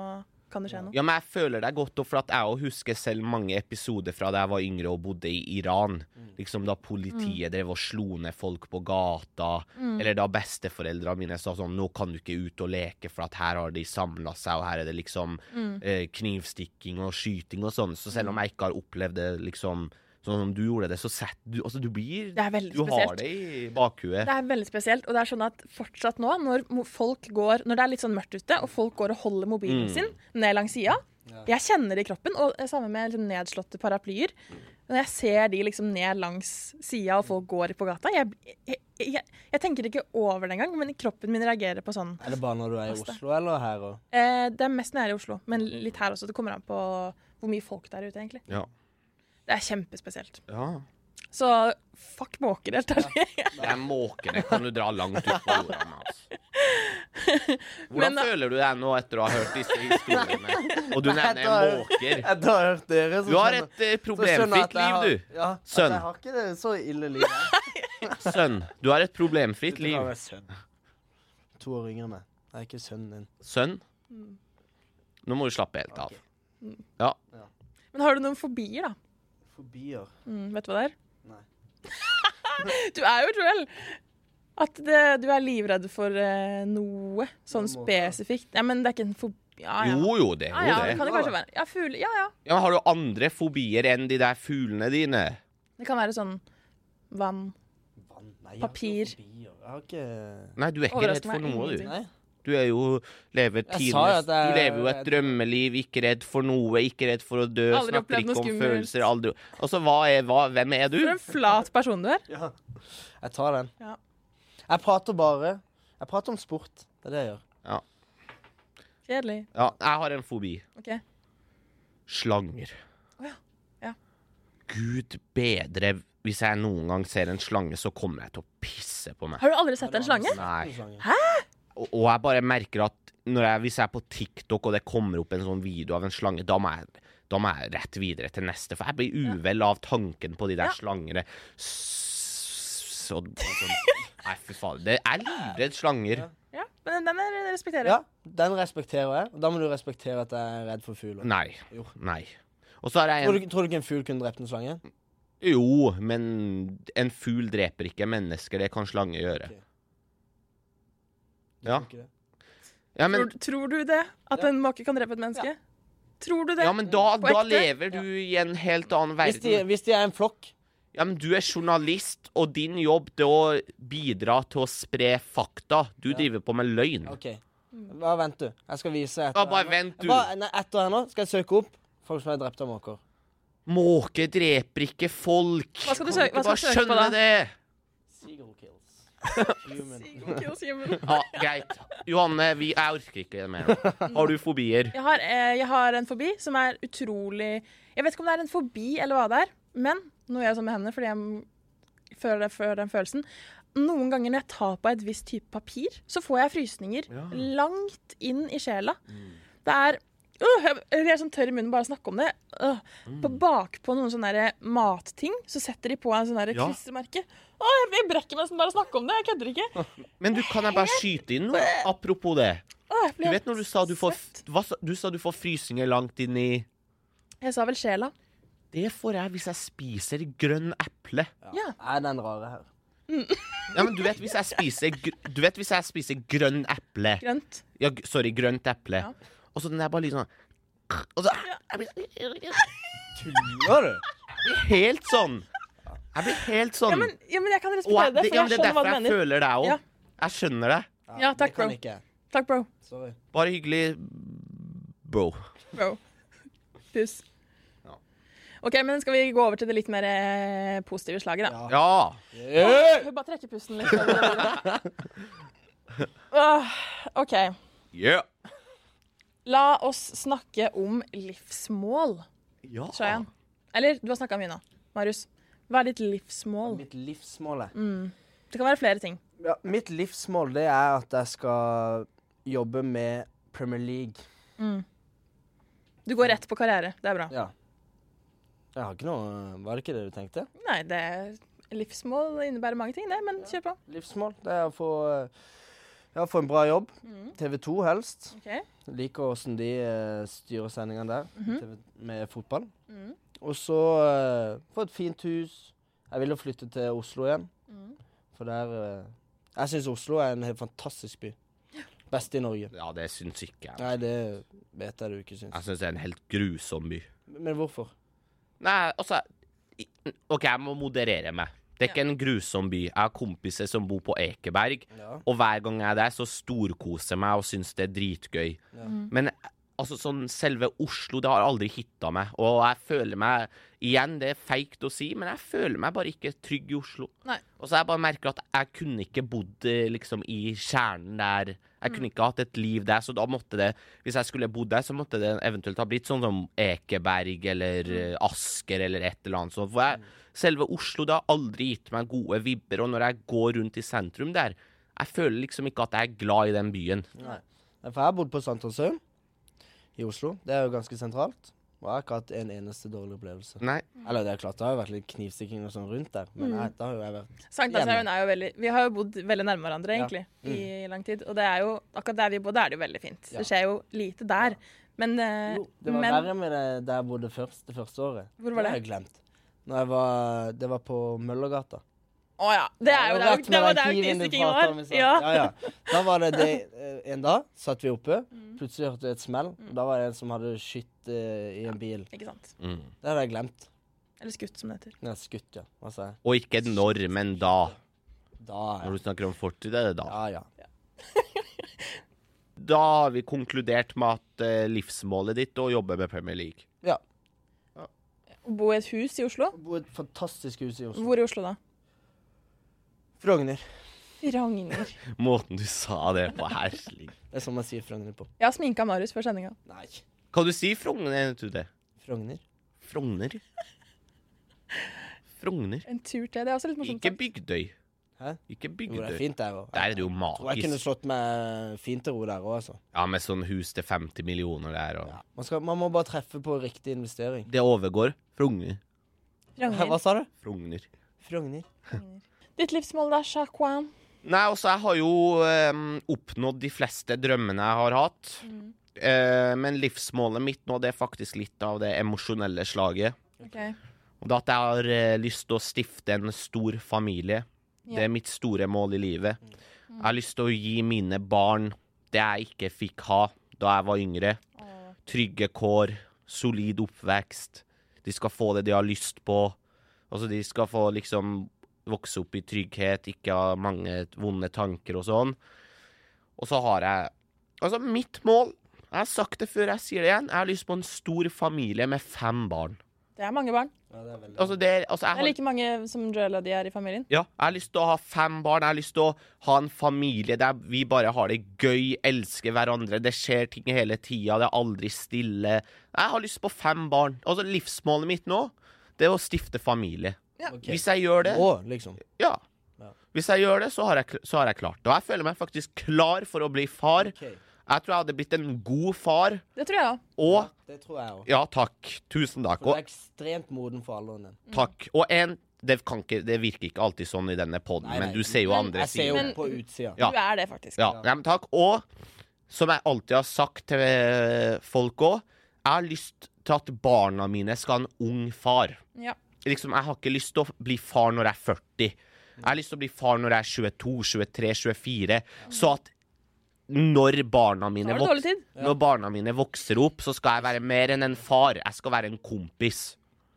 kan det skje noe.
Ja, men jeg føler deg godt, og for at jeg òg husker selv mange episoder fra da jeg var yngre og bodde i Iran.
Mm.
Liksom Da politiet drev og slo ned folk på gata,
Mm.
eller da besteforeldrene mine sa sånn Nå kan du ikke ut og leke, for at her har de samla seg, og her er det liksom
Mm.
eh, knivstikking og skyting og sånn. Så selv om jeg ikke har opplevd det liksom sånn som du gjorde det, så sett du Altså, du blir
Det er veldig
Du
spesielt.
har det i bakhuet.
Det er veldig spesielt, og det er sånn at fortsatt nå, når mo- folk går Når det er litt sånn mørkt ute, og folk går og holder mobilen
Mm.
sin ned langs sida
Ja.
Jeg kjenner det i kroppen, og det samme med liksom nedslåtte paraplyer. Når jeg ser de liksom ned langs sida, og folk går på gata jeg, jeg, jeg, jeg tenker ikke over det engang, men kroppen min reagerer på sånn.
Er det bare når du er i
Pass deg.
Oslo, eller her òg?
Eh, det er mest nære i Oslo, men litt her også. Det kommer an på hvor mye folk det er ute, egentlig.
Ja.
Det er kjempespesielt.
ja.
Så fuck måker, helt ærlig.
Det er måkene kan du dra langt ut på ordene. Altså. Hvordan
Men da-
føler du deg nå etter å ha hørt disse historiene? Og du
Nei,
nevner
da-
måker.
Etter å ha hørt dere, så
Du har
skjønner-
et eh,
så skjønner jeg at
problemfritt
jeg har-
liv,
Ja, at
Sønn.
Jeg har ikke det så ille liv. jeg.
du. Sønn. Du har et problemfritt
Det kan
liv.
være sønn. To år yngre enn meg. Jeg er ikke sønnen din.
Sønn.
Mm.
Nå må du slappe helt av.
Ok.
Ja.
Men har du noen fobier, da?
Fobier.
Mm, vet du hva det er?
Nei.
du er jo cruel! At det, du er livredd for eh, noe sånn
På en måte.
spesifikt. Ja, men det er ikke en fobi... Ah, Ja, ja.
Jo jo, det
ja, ja,
er jo
det
det.
kan det kanskje være. Ja, fugle. Ja, ja.
Ja, men har du andre fobier enn de der fuglene dine?
Det kan være sånn vann.
Vann. Nei, jeg har ikke
Papir.
fobier. Jeg har ikke
Nei, du er ikke redd
Overraskende
for noe, du.
ingenting.
Nei.
Du er jo lever
Jeg sa
tidenes
jo at jeg-
Du lever jo et drømmeliv, ikke redd for noe, ikke redd for å dø,
Aldri
snakker
opplevd noe
ikke om
skummelt.
følelser, aldri Altså, hva er hva? Hvem er du?
For en flat person du er.
Ja. Jeg tar den.
Ja.
Jeg prater bare Jeg prater om sport. Det er det jeg gjør.
Kjedelig.
Ja, jeg har en fobi.
OK.
Slanger.
Å ja. Ja.
Gud bedre, hvis jeg noen gang ser en slange, så kommer jeg til å pisse på meg.
Har du aldri sett en slange?
Nei.
Hæ?
Og, og jeg bare merker at når jeg, hvis jeg er på TikTok og det kommer opp en sånn video av en slange, da må jeg, da må jeg rett videre til neste, for jeg blir uvel av tanken på de der
Ja.
slangene. S- og- og sånn. Nei, fy faen. Det er livredd slanger.
Ja, men den er, den respekterer
Ja,
jeg.
den respekterer jeg. Og da må du respektere at jeg er redd for fugler.
Nei.
Jo.
Nei. Og så har jeg en
Tror du, tror du ikke en fugl kunne drept en slange?
Jo, men en fugl dreper ikke mennesker. Det kan slanger gjøre.
Ok.
Ja.
Tror ikke det.
Ja, men,
tror, tror du det? At en måke kan drepe et menneske? Tror du det?
ja, men da,
På
da
ekte?
lever du i en helt annen
Hvis de,
verden.
hvis de er en flokk
Ja, men du er journalist, og din jobb det er å bidra til å spre fakta. Du driver på med løgn.
OK.
Mm.
Bare vent, du. Jeg skal vise etter
Ja, bare
her nå.
vent, du.
Bare- nei, etter her nå skal jeg søke opp folk som er drept av måker.
Måker dreper ikke folk.
Hva skal du
Kan
søke- hva skal
ikke bare
du søke på da?
skjønne det?
Seagull kills. Human.
Kills human.
Ja, greit. Johanne, vi, jeg orker ikke mer. nå. Har du fobier?
Jeg har, eh, jeg har en fobi som er utrolig Jeg vet ikke om det er en fobi eller hva det er, men nå gjør jeg sånn med hendene fordi jeg m- føler, det- føler den følelsen. Noen ganger når jeg tar på et visst type papir, så får jeg frysninger
Ja. Mm.
langt inn i sjela. Det er Øh, jeg jeg blir helt sånn tørr i munnen bare av å snakke om det. Øh. På
Mm.
bakpå noen sånne der eh, matting så setter de på en sånn der
Ja.
klistremerke. Å, jeg, jeg brekker meg nesten bare av å snakke om det. Jeg kødder ikke.
Men du, kan jeg bare skyte inn noe apropos det?
Å, jeg
Du
blir
vet når du sa du får,
svett.
hva, sa- du sa du får frysninger langt inn i
Jeg sa vel sjela.
Det får jeg hvis jeg spiser grønn eple.
Ja.
Er den rare her?
Ja, men du vet hvis jeg spiser, gr- du vet hvis jeg spiser grønn eple
Grønt.
Ja, g- sorry, grønt eple.
Ja.
Og så den der bare litt sånn Og så jeg blir
Tuller du?
helt sånn. Jeg blir helt sånn.
Ja, men, ja, men jeg kan
og
respektere
jeg,
det,
det,
for
ja,
jeg
men
skjønner
det er
hva
derfor
du
jeg
mener.
føler deg òg.
Ja.
Jeg skjønner det.
Ja, takk,
det kan
bro.
Ikke. jeg.
Takk, bro.
Sorry.
Bare hyggelig, bro.
bro. Puss.
Ja.
OK, men skal vi gå over til det litt mer eh, positive slaget, da?
Ja.
Ja.
Åh, vi bare trekke pusten litt. Åh, OK.
Yeah.
La oss snakke om livsmål,
Ja.
Shayan.
Ah.
Eller, du har snakka mye nå, Marius. Hva er ditt livsmål?
Mitt livsmål er
Mm. Det kan være flere ting.
ja, Mitt livsmål det er at jeg skal jobbe med Premier League.
Du går rett på karriere. Det er bra.
Ja. Jeg har ikke noe Var det ikke det du tenkte?
Nei, det er livsmål innebærer mange ting, det, men kjør på.
Livsmål. Det er å få Ja, få en bra jobb.
Mm.
TV 2 helst.
OK.
Liker åssen de eh, styrer sendingene der TV med fotball.
Mhm. Mm.
Og så eh, få et fint hus. Jeg vil jo flytte til Oslo igjen,
Mm.
for der eh, Jeg syns Oslo er en helt fantastisk by. Best i Norge.
Ja, det syns ikke jeg.
Nei, det vet jeg du ikke syns.
Jeg syns det er en helt grusom by.
Men hvorfor?
Nei, altså i- OK, jeg må moderere meg. Det er ikke en grusom by. Jeg har kompiser som bor på Ekeberg,
Ja.
og hver gang jeg er der, så storkoser jeg meg og syns det er dritgøy.
Ja.
Men altså, sånn selve Oslo, det har aldri hitta meg. Og jeg føler meg Igjen, det er feigt å si, men jeg føler meg bare ikke trygg i Oslo.
Nei.
Og så har jeg bare merker at jeg kunne ikke bodd eh, liksom i kjernen der. Jeg kunne ikke hatt et liv der, så da måtte det Hvis jeg skulle bodd der, så måtte det eventuelt ha blitt sånn som Ekeberg eller eh, Asker eller et eller annet sånt. For jeg, selve Oslo det har aldri gitt meg gode vibber, og når jeg går rundt i sentrum der, jeg føler liksom ikke at jeg er glad i den byen.
Nei. Nei, For jeg har bodd på Sankthansøen i Oslo. Det er jo ganske sentralt. Og jeg har ikke hatt en eneste dårlig opplevelse.
Nei.
Mm.
Eller det er klart, det har jo vært litt knivstikking og sånn rundt der, men nei, da har jo jeg vært
Sankthanshaugen er jo veldig Vi har jo bodd veldig nærme hverandre,
Ja. Mm.
egentlig, i lang tid. Og det er jo akkurat der vi bor, da er det jo veldig fint.
Ja.
Det skjer jo lite der. Men, eh,
Jo, det var
men
verre med det der jeg bodde først, det første året.
Hvor var
Det har jeg glemt. Når jeg var, det var på Møllergata.
Å ja. Det er jo det,
Det
er
var
jo-
rett
det,
med
var- det
den
er jo
kniven du
knivstikkingen
pratet om i
vår.
stad.
Ja.
ja, ja. Da var det det eh, En dag satt vi oppe,
Mm.
plutselig hørte vi et smell. og Da var det en som hadde skutt eh, i en bil.
Ikke sant.
Mm.
Det hadde jeg glemt.
Eller skutt, som det heter.
Nei, skutt, ja. Hva sa jeg?
Og ikke når, men da.
Da, ja.
Når du snakker om fortid, er det da.
Ja, ja.
Da har vi konkludert med at eh, livsmålet ditt er å jobbe med Premier League.
ja.
Å bo i et hus i Oslo?
Bo i et fantastisk hus i Oslo.
Hvor i Oslo da?
Frogner.
Frogner.
Måten du sa det på, herlig.
Det er sånn man sier Frogner på.
Jeg har sminka Marius før sendinga.
Nei.
Kan du si Frogner? du det?
Frogner.
Frogner? Frogner.
En tur til. Det er også litt morsomt.
Ikke Bygdøy.
Hæ?
Ikke
Jo, det er
Bygdøy.
fint der òg.
Der er det jo
Tror jeg kunne
magisk.
slått meg fint til ro der òg, altså.
Ja, med sånn hus til 50 millioner der og
Ja. Man, skal, man må bare treffe på riktig investering.
Det overgår Frogner.
Hva
Frogner.
sa du?
Frogner.
Frogner.
Ditt livsmål da, Shakwan?
Nei, altså, jeg har jo eh, oppnådd de fleste drømmene jeg har hatt.
Mm.
Eh, men livsmålet mitt nå, det er faktisk litt av det emosjonelle slaget.
Ok.
Og det at jeg har eh, lyst til å stifte en stor familie.
Ja.
Det er mitt store mål i livet. Jeg har lyst til å gi mine barn det jeg ikke fikk ha da jeg var yngre.
Å,
Trygge kår, solid oppvekst. De skal få det de har lyst på. Altså, de skal få liksom vokse opp i trygghet, ikke ha mange vonde tanker og sånn. Og så har jeg Altså, mitt mål Jeg har sagt det før, jeg sier det igjen. Jeg har lyst på en stor familie med fem barn.
Det er mange barn.
Ja, det er veldig
Altså, det er altså, jeg
Det er
har,
like mange som Joel og de er i familien.
Ja, jeg har lyst til å ha fem barn. Jeg har lyst til å ha en familie der vi bare har det gøy, elsker hverandre. Det skjer ting hele tida, det er aldri stille. Jeg har lyst på fem barn. Altså, livsmålet mitt nå, det er å stifte familie.
Ok.
Hvis jeg gjør det
Å, liksom.
Ja.
Ja.
Hvis jeg gjør det, så har jeg, kl- så har jeg klart det. Og jeg føler meg faktisk klar for å bli far.
Ok.
Jeg tror jeg hadde blitt en god far.
Det tror jeg òg.
Og
Ja, det tror jeg òg.
Ja, takk. Tusen takk.
Du
Og
er ekstremt moden for alderen din.
takk. Og en det, kan ikke, det virker ikke alltid sånn i denne poden,
Nei,
men
nei.
du ser jo
Men
andre
Jeg ser jo
Men-
på utsida.
Ja.
Du er det, faktisk.
Ja, nei, men takk. Og som jeg alltid har sagt til eh, folk òg, jeg har lyst til at barna mine skal ha en ung far.
Ja.
Liksom, Jeg har ikke lyst til å bli far når jeg er 40. Jeg har lyst til å bli far når jeg er 22, 23, 24. Så at når barna
Da
mine,
har du dårlig
vokser,
tid.
når barna mine vokser opp, så skal jeg være mer enn en far. Jeg skal være en kompis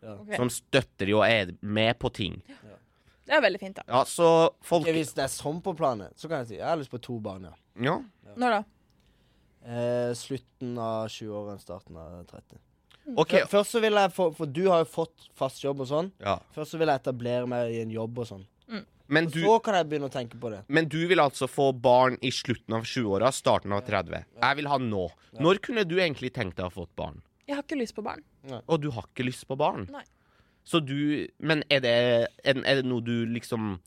Ok.
som støtter og er med på ting.
Det er veldig fint, da.
Ja, så folk
Ok, hvis det er sånn på planet, så kan jeg si jeg har lyst på to barn, ja.
Ja.
Når da?
Eh, slutten av 20-årene, starten av 30.
OK.
Først så vil jeg få For du har jo fått fast jobb og sånn.
Ja.
Først så vil jeg etablere meg i en jobb og sånn.
Men
Og
du
så kan jeg begynne å tenke på det.
Men du vil altså få barn i slutten av 20-åra, starten av 30. Jeg vil ha nå. Når kunne du egentlig tenkt deg å ha fått barn?
Jeg har ikke lyst på barn.
Og du har ikke lyst på barn.
Nei.
Så du Men er det, er, er det noe du liksom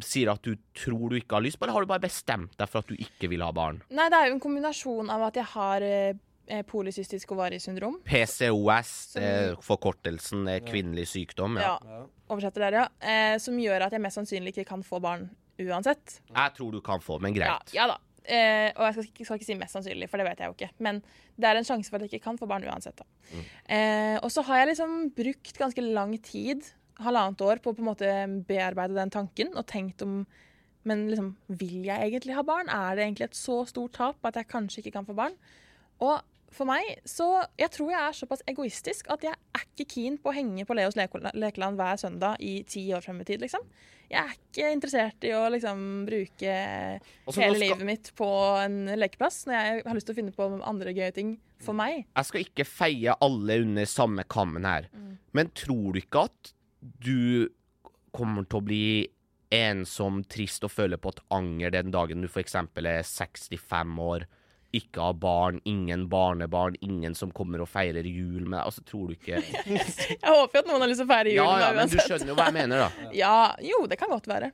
sier at du tror du ikke har lyst på, eller har du bare bestemt deg for at du ikke vil ha barn?
Nei, det er jo en kombinasjon av at jeg har eh, eh, polycystisk ovariesyndrom.
PCOS, eh, forkortelsen eh, kvinnelig sykdom. Ja.
Ja. Oversetter der, ja. Eh, som gjør at jeg mest sannsynlig ikke kan få barn uansett.
Jeg tror du kan få, men
Ja,
greit.
ja da. Eh, og jeg skal, ikke- skal ikke si mest sannsynlig, for det vet jeg jo ikke. Men det er en sjanse for at jeg ikke kan få barn uansett. Da. Eh, og så har jeg liksom brukt ganske lang tid, halvannet år, på å på en måte bearbeide den tanken og tenkt om Men liksom, vil jeg egentlig ha barn? Er det egentlig et så stort tap at jeg kanskje ikke kan få barn? Og for meg, så Jeg tror jeg er såpass egoistisk at jeg er ikke keen på å henge på Leos leko- lekeland hver søndag i ti år frem i tid, liksom. Jeg er ikke interessert i å liksom bruke
Altså, nå
hele
skal-
livet mitt på en lekeplass når jeg har lyst til å finne på andre gøye ting
Mm.
for meg.
Jeg skal ikke feie alle under samme kammen her,
Mm.
men tror du ikke at du kommer til å bli ensom, trist og føle på et anger den dagen du f.eks. er 65 år, ikke har barn, ingen barnebarn, ingen som kommer og feirer jul med deg? Altså, tror du ikke
Jeg håper jo at noen har lyst til å feire
Ja,
julen med
ja,
meg
men du
uansett.
skjønner Mm. jo hva jeg mener, da.
Ja, jo, det kan godt være.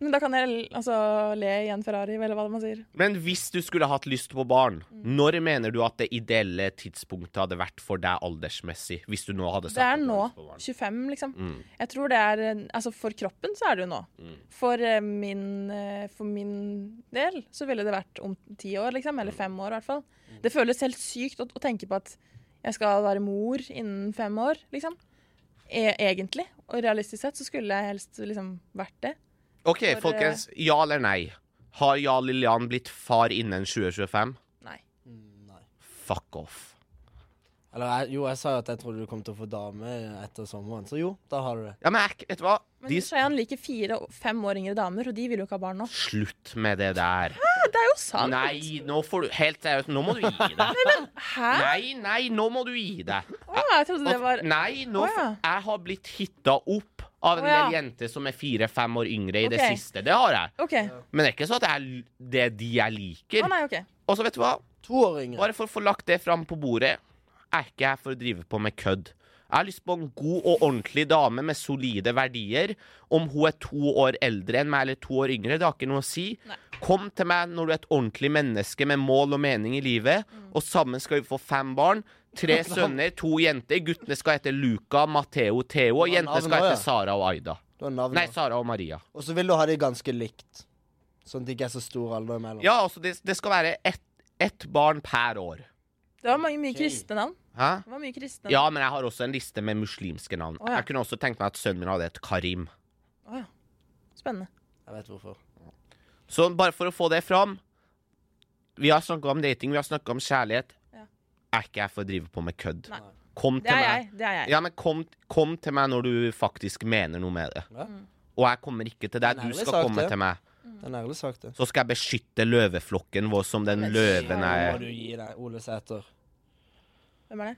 Men da kan jeg l- altså, le i en Ferrari, eller hva man sier.
Men hvis du skulle hatt lyst på barn,
Mm.
når mener du at det ideelle tidspunktet hadde vært for deg aldersmessig? Hvis du nå hadde
Det
satt
er
deg
nå.
lyst på barn? Mm.
25, liksom. Jeg tror det er eh, Altså, for kroppen så er det jo nå. For, eh, min, eh, for min del så ville det vært om ti år, liksom.
Mm.
Eller fem år, i hvert fall. Det føles helt sykt å, å tenke på at jeg skal være mor innen fem år, liksom. E egentlig. Og realistisk sett så skulle jeg helst liksom vært det.
OK,
For, eh,
folkens. Ja eller nei? Har Jarl Lillian blitt far innen 2025?
Nei.
Mm, Nei.
Fuck off.
Eller jeg, jo, jeg sa jo at jeg trodde du kom til å få dame etter sommeren, så jo, da har du det.
Ja, men jeg, vet du hva?
Men
De
Shayan liker fire og fem år yngre damer, og de vil jo ikke ha barn nå.
Slutt med det der.
Det er jo sant!
Nei, nå får du Helt seriøst, nå må du gi deg.
Hæ?
Nei, nei, nå må du gi deg.
Å, jeg trodde det var
Nei, nå
Å, ja.
f- Jeg har blitt hitta opp av en
Å, ja.
del jenter som er fire-fem år yngre i det
Ok.
siste. Det har jeg.
OK. Å
Men det er ikke sånn at jeg, det er de jeg liker.
nei, OK.
Og så, vet du hva?
To år yngre.
Bare for å få lagt det fram på bordet, er ikke jeg for å drive på med kødd. Jeg har lyst på en god og ordentlig dame med solide verdier. Om hun er to år eldre enn meg eller to år yngre, det har ikke noe å si.
Nei.
Kom til meg når du er et ordentlig menneske med mål og mening i livet,
Mm.
og sammen skal vi få fem barn. Tre sønner, to jenter. Guttene skal hete Luca, Matheo, Theo, og
Du har
jentene
navn
skal
også,
hete
ja.
Sara og Aida.
Du har navn.
Nei,
nå.
Sara og Maria.
Og så vil du ha de ganske likt. Sånn at det ikke er så stor alder imellom.
Ja, altså, det, det skal være ett ett barn per år.
Det var mange, mye
Ok.
kristne navn.
Hæ?
Det var mye kristne
Ja, men jeg har også en liste med muslimske navn.
Å, ja.
Jeg kunne også tenkt meg at sønnen min hadde et Karim.
navn. Å, ja. Spennende.
Jeg vet hvorfor.
Så bare for å få det fram Vi har snakka om dating, vi har snakka om kjærlighet.
Ja.
Er ikke jeg for å drive på med kødd.
Nei.
Kom
Det
til
er
meg.
jeg. det er jeg.
Ja, men kom, kom til meg når du faktisk mener noe med det.
Ja.
Mm,
Og jeg kommer ikke til deg.
Men
Du
ærlig
skal
sagt,
komme
det.
til meg.
Det er en ærlig sak, det.
Så skal jeg beskytte løveflokken vår som den
Men
løven
Nå
jeg
må
er.
du gi deg, Ole Sæter.
Hvem er det?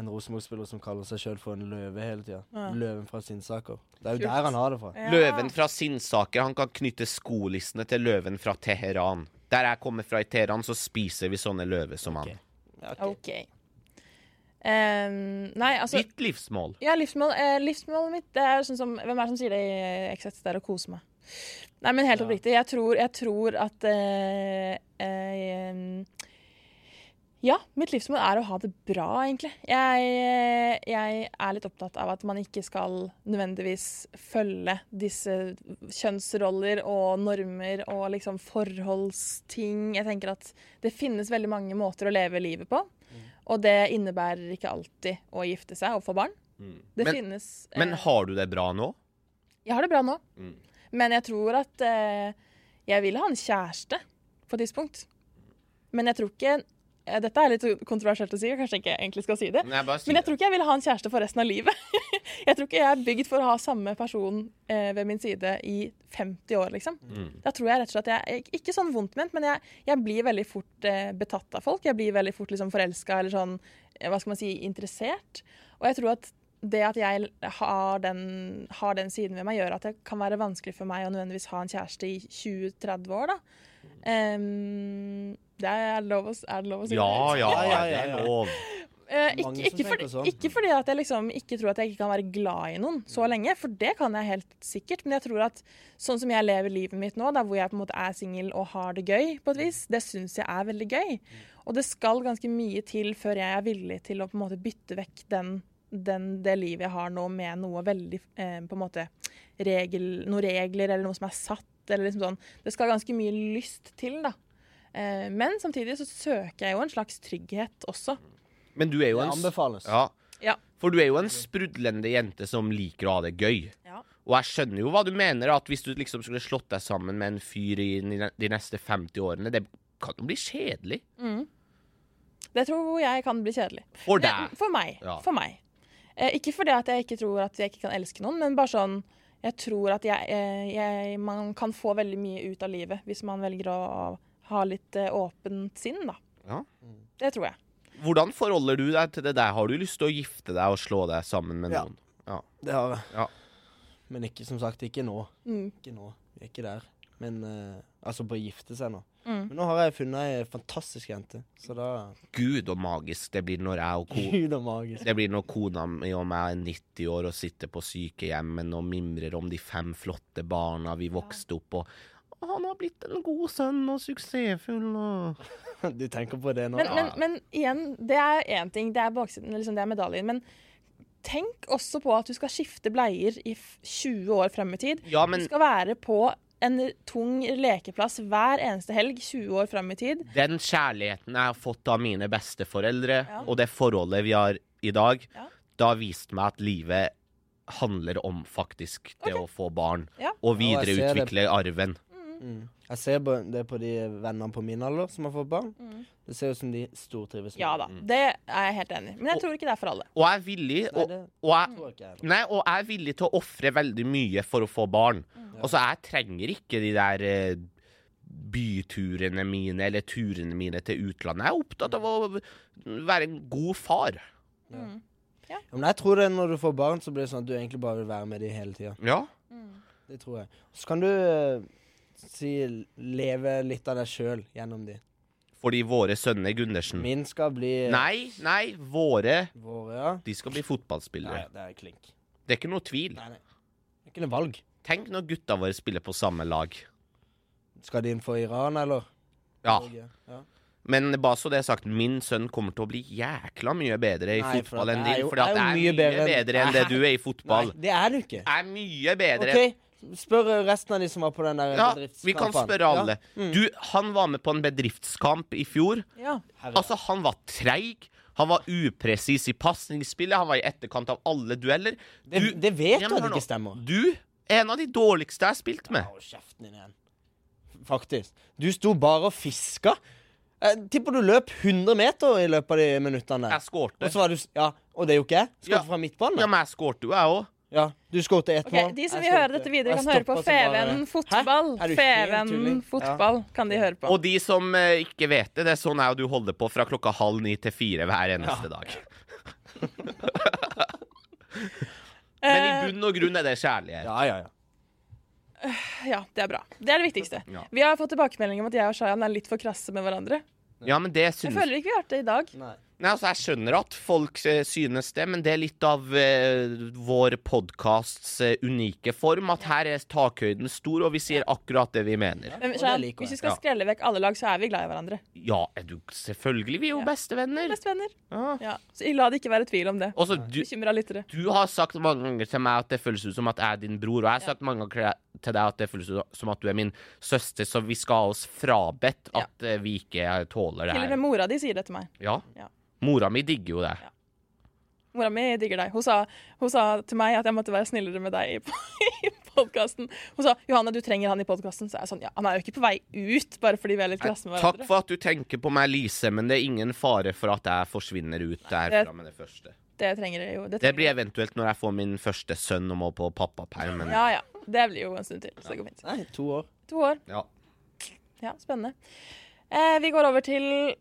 En Rosenborg-spiller som kaller seg sjøl for en løve hele tida.
Ja.
Løven fra Sinnsaker. Det er jo
Kult.
der han har det fra.
Ja.
Løven fra Sinnsaker, han kan knytte skolissene til løven fra Teheran. Der jeg kommer fra i Teheran, så spiser vi sånne løver som han.
Ja, ok.
OK. Ehm, nei, altså
Ditt livsmål.
Ja, livsmål, eh, livsmålet mitt det er sånn som Hvem er det som sier det i eh, Exit? Det er å kose meg. Nei, men helt
Ja.
oppriktig. Jeg tror, jeg tror at eh, eh, Ja, mitt livsmål er å ha det bra, egentlig. Jeg, eh, jeg er litt opptatt av at man ikke skal nødvendigvis følge disse kjønnsroller og normer og liksom forholdsting. Jeg tenker at det finnes veldig mange måter å leve livet på.
Mm.
Og det innebærer ikke alltid å gifte seg og få barn. Det
Mm. Men-
finnes eh,
Men har du det bra nå?
Jeg har det bra nå,
Mm.
men jeg tror at eh, jeg vil ha en kjæreste på et tidspunkt. Men jeg tror ikke eh, Dette er litt kontroversielt å si, og kanskje ikke jeg egentlig skal si det.
Men jeg bare sier
Men jeg tror ikke jeg vil ha en kjæreste for resten av livet. jeg tror ikke jeg er bygd for å ha samme person eh, ved min side i 50 år, liksom.
Mm.
Da tror jeg rett og slett at jeg Ikke sånn vondt ment, men jeg, jeg blir veldig fort eh, betatt av folk. Jeg blir veldig fort liksom forelska eller sånn, eh, hva skal man si, interessert. Og jeg tror at det at jeg har den, har den siden ved meg, gjør at det kan være vanskelig for meg å nødvendigvis ha en kjæreste i 20-30 år, da.
Mm.
Em, det er, lov å, s- er det lov å si?
Ja,
det?
ja,
Ja, ja,
det
ja,
er
ja.
lov.
Eh, ikke,
Mange som
ikke, fordi,
tenker sånn.
ikke fordi at jeg liksom ikke tror at jeg ikke kan være glad i noen så lenge, for det kan jeg helt sikkert. Men jeg tror at sånn som jeg lever livet mitt nå, da, hvor jeg på en måte er singel og har det gøy, på et vis,
Mm.
det syns jeg er veldig gøy. Og det skal ganske mye til før jeg er villig til å på en måte bytte vekk den, den, det livet jeg har nå, med noe veldig eh, på en måte regel, noen regler eller noe som er satt. Eller liksom sånn. Det skal ganske mye lyst til, da. Eh, men samtidig så søker jeg jo en slags trygghet også.
Men du er jo
Det
en s-
anbefales.
Ja.
Ja.
For du er jo en sprudlende jente som liker å ha det gøy.
Ja.
Og jeg skjønner jo hva du mener, at hvis du liksom skulle slått deg sammen med en fyr i ni- de neste 50 årene, det kan jo bli kjedelig
Det tror jeg kan bli kjedelig.
for
Ja,
deg.
for meg.
Ja.
For meg. Eh, ikke fordi at jeg ikke tror at jeg ikke kan elske noen, men bare sånn Jeg tror at jeg, eh, jeg Man kan få veldig mye ut av livet hvis man velger å ha litt eh, åpent sinn, da.
Ja.
Det tror jeg.
Hvordan forholder du deg til det der? Har du lyst til å gifte deg og slå deg sammen med
Ja.
noen? Ja.
Det har jeg.
Ja.
Men ikke, som sagt, ikke nå.
Mm.
Ikke nå. Vi er ikke der. Men eh, altså, på å gifte seg nå.
Mm.
Men nå har jeg funnet ei fantastisk jente, så da
Gud og magisk det blir når jeg og ko
Gud og magisk.
Det blir når kona mi og meg er 90 år og sitter på sykehjemmen og mimrer om de fem flotte barna vi vokste opp og «Å, han har blitt en god sønn og suksessfull og
Du tenker på det nå?
Men, men, men igjen, det er én ting. Det er baksiden, liksom, det er medaljen. Men tenk også på at du skal skifte bleier i f- 20 år frem i tid.
Ja, men
Du skal være på en tung lekeplass hver eneste helg 20 år frem i tid.
den kjærligheten jeg har fått av mine besteforeldre,
Ja.
og det forholdet vi har i dag,
Ja.
det har vist meg at livet handler om faktisk det å få barn,
Ja.
og
Ja, jeg ser det.
videreutvikle arven.
Mm. Jeg ser på, det på de vennene på min alder som har fått barn. Det ser ut som de stortrives med
Mm. Ja da, det er jeg helt enig i. Men jeg tror ikke det er for alle.
Og jeg er villig,
Nei,
og,
det
og jeg
tror ikke jeg.
Nei, og jeg er villig til å ofre veldig mye for å få barn.
Mm.
Altså, jeg trenger ikke de der eh, byturene mine eller turene mine til utlandet. Jeg er opptatt av å være en god far.
Ja, Men jeg tror det når du får barn, så blir det sånn at du egentlig bare vil være med de hele tida.
Ja.
Det tror jeg. Så kan du eh, si leve litt av deg sjøl gjennom de.
Fordi våre sønner Gundersen
Min skal bli eh,
Mm. Nei, nei, våre
våre, ja.
De skal bli
Nei,
fotballspillere.
det er klink.
Det er ikke noe tvil.
Nei, nei. Det er ikke noe valg.
Tenk når gutta våre spiller på samme lag.
Skal de inn for Iran, eller?
Ja.
Norge? ja.
Men bare så det er sagt, min sønn kommer til å bli jækla mye bedre i
Nei, for
fotball
at
enn
jeg er
din.
jo-
Fordi at
jeg
jeg
er
er
jo
mye
mye
bedre,
bedre enn-
enn det du er i
Nei,
fotball.
det er du
Jeg
ikke.
er mye bedre
OK, spør resten av de som var på den der
Ja,
bedriftskampen.
vi kan spørre alle.
Mm.
Du, han var med på en bedriftskamp i fjor.
Ja.
Herre.
Altså, han var treig. Han var upresis i pasningsspillet. Han var i etterkant av alle dueller.
det, det vet
Ja,
du
men
at
hør nå.
ikke stemmer.
Du er en av de dårligste jeg har spilt med.
Hold kjeften din igjen. Faktisk. Du sto bare og fiska. Jeg tipper du løp 100 meter i løpet av de minuttene.
Jeg
der. Og sånn,
skårte.
så var du s- Ja, og det er jo ikke jeg. Skåret
Ja.
fra
Ja,
midtbane.
men jeg skårte jo, jeg òg.
Ja, du skåret ett
Ok,
mål.
De som
Jeg
vil høre
skårte.
dette videre,
Jeg
kan høre på
stoppet som bare-
Feven fotball.
Hæ? Er du helt
Feven
tulling?
fotball kan de høre på.
Og de som eh, ikke vet det, det er sånn jeg og du holder på fra klokka halv ni til fire hver eneste dag. Men i bunn og grunn er det kjærlighet.
Ja, ja, ja.
Ja, det er bra. Det er det viktigste.
Ja.
Vi har fått tilbakemelding om at jeg og Shayan er litt for krasse med hverandre.
Ja, men det
Jeg
synes
føler ikke vi har hørt det i dag.
Nei.
Nei, altså Jeg skjønner at folk eh, synes det, men det er litt av eh, vår podkasts eh, unike form. At her er takhøyden stor, og vi sier akkurat det vi mener.
Men
Og det
Shayan,
liker jeg.
hvis vi skal
Ja.
skrelle vekk alle lag, så er vi glad i hverandre.
Ja, er du selvfølgelig. Vi er jo bestevenner.
Bestevenner.
Ja.
Ja. Så la det ikke være tvil om det.
Også, du,
Bekymra lyttere.
du har sagt mange ganger til meg at det føles ut som at jeg er din bror, og jeg har sagt mange ganger til deg at det føles ut som at du er min søster, så vi skal ha oss frabedt
Ja.
at eh, vi ikke eh, tåler det
Til og
her.
med mora di sier det til meg.
Ja.
Ja.
Mora mi digger jo det.
Mora mi digger deg. Hun sa, hun sa til meg at jeg måtte være snillere med deg i, i podkasten. Hun sa 'Johanne, du trenger han i podkasten'. Så er jeg sånn, ja, han er jo ikke på vei ut bare fordi vi er litt krasse med
Takk
hverandre.
for at du tenker på meg, Lise, men det er ingen fare for at jeg forsvinner ut derfra med det første.
Det trenger jeg jo. Det
Det
trenger.
blir eventuelt når jeg får min første sønn og må på pappaperm. Men
Ja, ja. Det blir jo en stund til, så det går fint.
Nei, to år.
To år.
ja.
Ja, spennende. Eh, vi går over til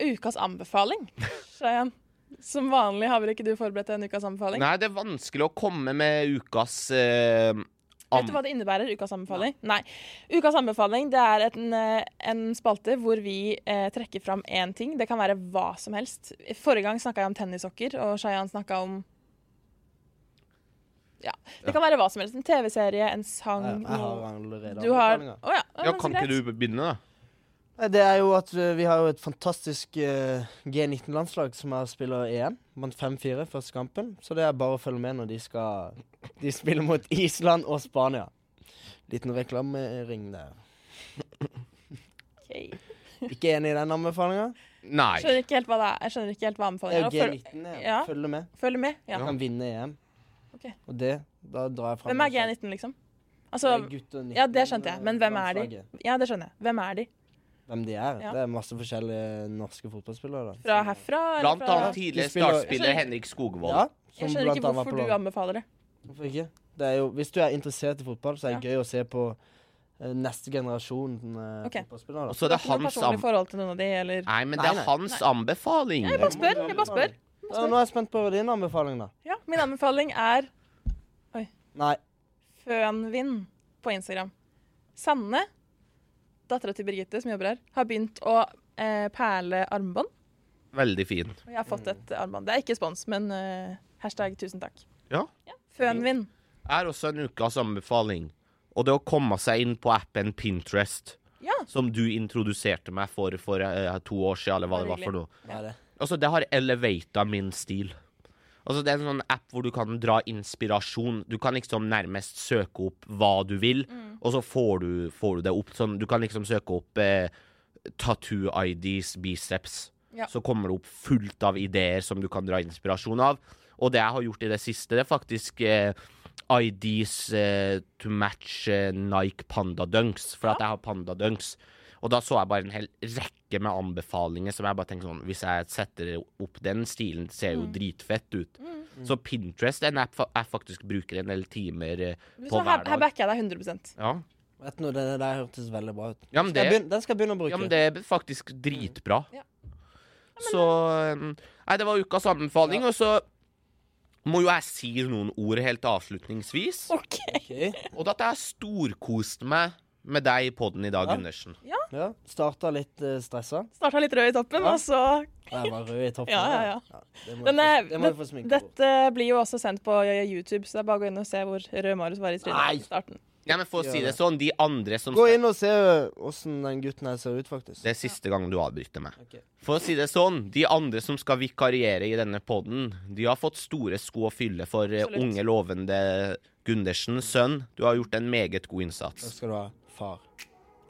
ukas anbefaling. Shayan, som vanlig har vel ikke du forberedt en ukas anbefaling?
Nei, det er vanskelig å komme med ukas eh, am-
Vet du hva det innebærer, ukas anbefaling? Nei. Ukas anbefaling det er en, eh, en spalte hvor vi eh, trekker fram én ting. Det kan være hva som helst. Forrige gang snakka jeg om tennissokker, og Shayan snakka om Ja. Det kan være hva som helst. En TV-serie, en sang
Jeg, jeg har
noe-
allerede
Du har
anbefalinger.
Å ja. ja,
Ja,
men så
kan
greit.
ikke du begynne, da?
Nei, Det er jo at eh, vi har jo et fantastisk eh, G19-landslag som har spiller EM. Vant 5-4 første kampen, så det er bare å følge med når de skal De spiller mot Island og Spania. Liten reklamering der.
Ok.
Ikke enig i den anbefalinga.
Jeg
Nei.
skjønner ikke helt hva det er. Jeg skjønner ikke helt hva
Eh,
anbefalingen er. og
G19 er
ja.
Følger med.
Følg, følg med. Ja.
Ja.
Kan vinne EM.
Ok.
Og det Da drar jeg fram
Hvem er G19, liksom? Altså, ja, det skjønte jeg. Men hvem er de? Ja, det skjønner jeg. Hvem er de?
eh, Hvem de er?
Ja.
Det er masse forskjellige norske fotballspillere. da.
Fra herfra?
Blant annet
fra
tidligere
De spiller-
startspiller Henrik Skogvold.
Ja,
Jeg
som
skjønner
blant
ikke
annet var på
hvorfor du
laget.
anbefaler det.
Hvorfor ikke? Det er jo, hvis du er interessert i fotball, så er det gøy å se på eh, neste generasjon eh,
Ok.
fotballspillere.
Og
da.
så er det
Ikke noe
hans
personlig
anbefaling.
forhold til noen av de, eller
Nei, men det
Nei,
er
nei.
hans anbefaling.
Jeg bare spør. Jeg bare spør.
Ja, nå er jeg spent på din anbefaling, da.
Ja, min anbefaling er
Nei.
Fønvind på Instagram. Sanne, dattera til Birgitte som jobber her, har begynt å eh, perle armbånd.
Veldig fin.
Og jeg har fått et armbånd. Det er ikke spons, men eh, hashtag tusen takk.
Ja.
Fønvind.
Jeg har også en ukas anbefaling, og det er å komme seg inn på appen Pinterest.
Ja.
Som du introduserte meg for for eh, to år siden, eller hva det var for noe.
Hva er det?
Altså, det har elevata min stil. Altså, det er en sånn app hvor du kan dra inspirasjon. Du kan liksom nærmest søke opp hva du vil, og så får du, får du det opp. Sånn, du kan liksom søke opp eh, tattoo-IDs, biceps.
Ja.
Så kommer det opp fullt av ideer som du kan dra inspirasjon av. Og det jeg har gjort i det siste, det er faktisk eh, IDs eh, to match eh, Nike Panda Dunks, for at jeg har Panda Dunks. Og da så jeg bare en hel rekke med anbefalinger som jeg bare tenkte sånn Hvis jeg setter opp den stilen, det ser jo dritfett ut. Så Pinterest er en app fa- jeg faktisk bruker en del timer eh, på
Så her, her
hver dag.
backer jeg deg 100
Ja.
Vet du noe, Den der hørtes veldig bra ut.
Ja, men
Skal jeg
det,
begynne, den skal jeg begynne å bruke.
ja, men det er faktisk dritbra.
Ja.
Så eh, Nei, det var ukas anbefaling, og så må jo jeg si noen ord helt avslutningsvis.
OK.
Ok.
Og at jeg har storkost meg med deg i poden i dag,
Ja.
Gundersen.
Ja, Starta litt eh, stressa.
Starta litt rød i toppen,
Ja.
og så
Og Jeg var rød i toppen.
Ja, ja, ja.
det må
Den
jeg
er-
få- det må jeg få sminke bort.
Dette blir jo også sendt på YouTube, så det er bare å gå inn og se hvor rød Marius var i
Nei.
trynet i starten.
Ja, men for å
Gjør
si det
det.
sånn, de andre som
Gå inn og se eh, åssen den gutten her ser ut, faktisk.
Det er siste gang du avbryter meg.
Ok.
For å si det sånn, de andre som skal vikariere i denne poden, de har fått store sko å fylle for eh,
Absolutt.
unge, lovende Gundersen, sønn. Du har gjort en meget god
Da
innsats.
skal du ha far.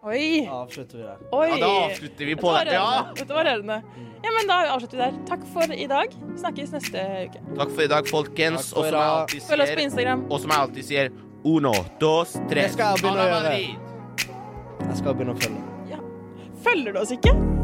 Oi!
Da avslutter vi der.
Oi!
Ja, da avslutter vi
Dette
på
var
den. Ja!
rørende. Dette var rørende. Ja, men da avslutter vi der. Takk for i dag. Snakkes neste uke.
Takk for i dag, folkens.
Takk for
Og
i
som jeg
dag.
alltid
Følg oss på
sier,
Instagram.
og som jeg alltid sier uno, dos, tres.
Det skal jeg begynne å
Ana
gjøre.
Madrid.
Jeg skal begynne å følge.
Følger du oss ikke?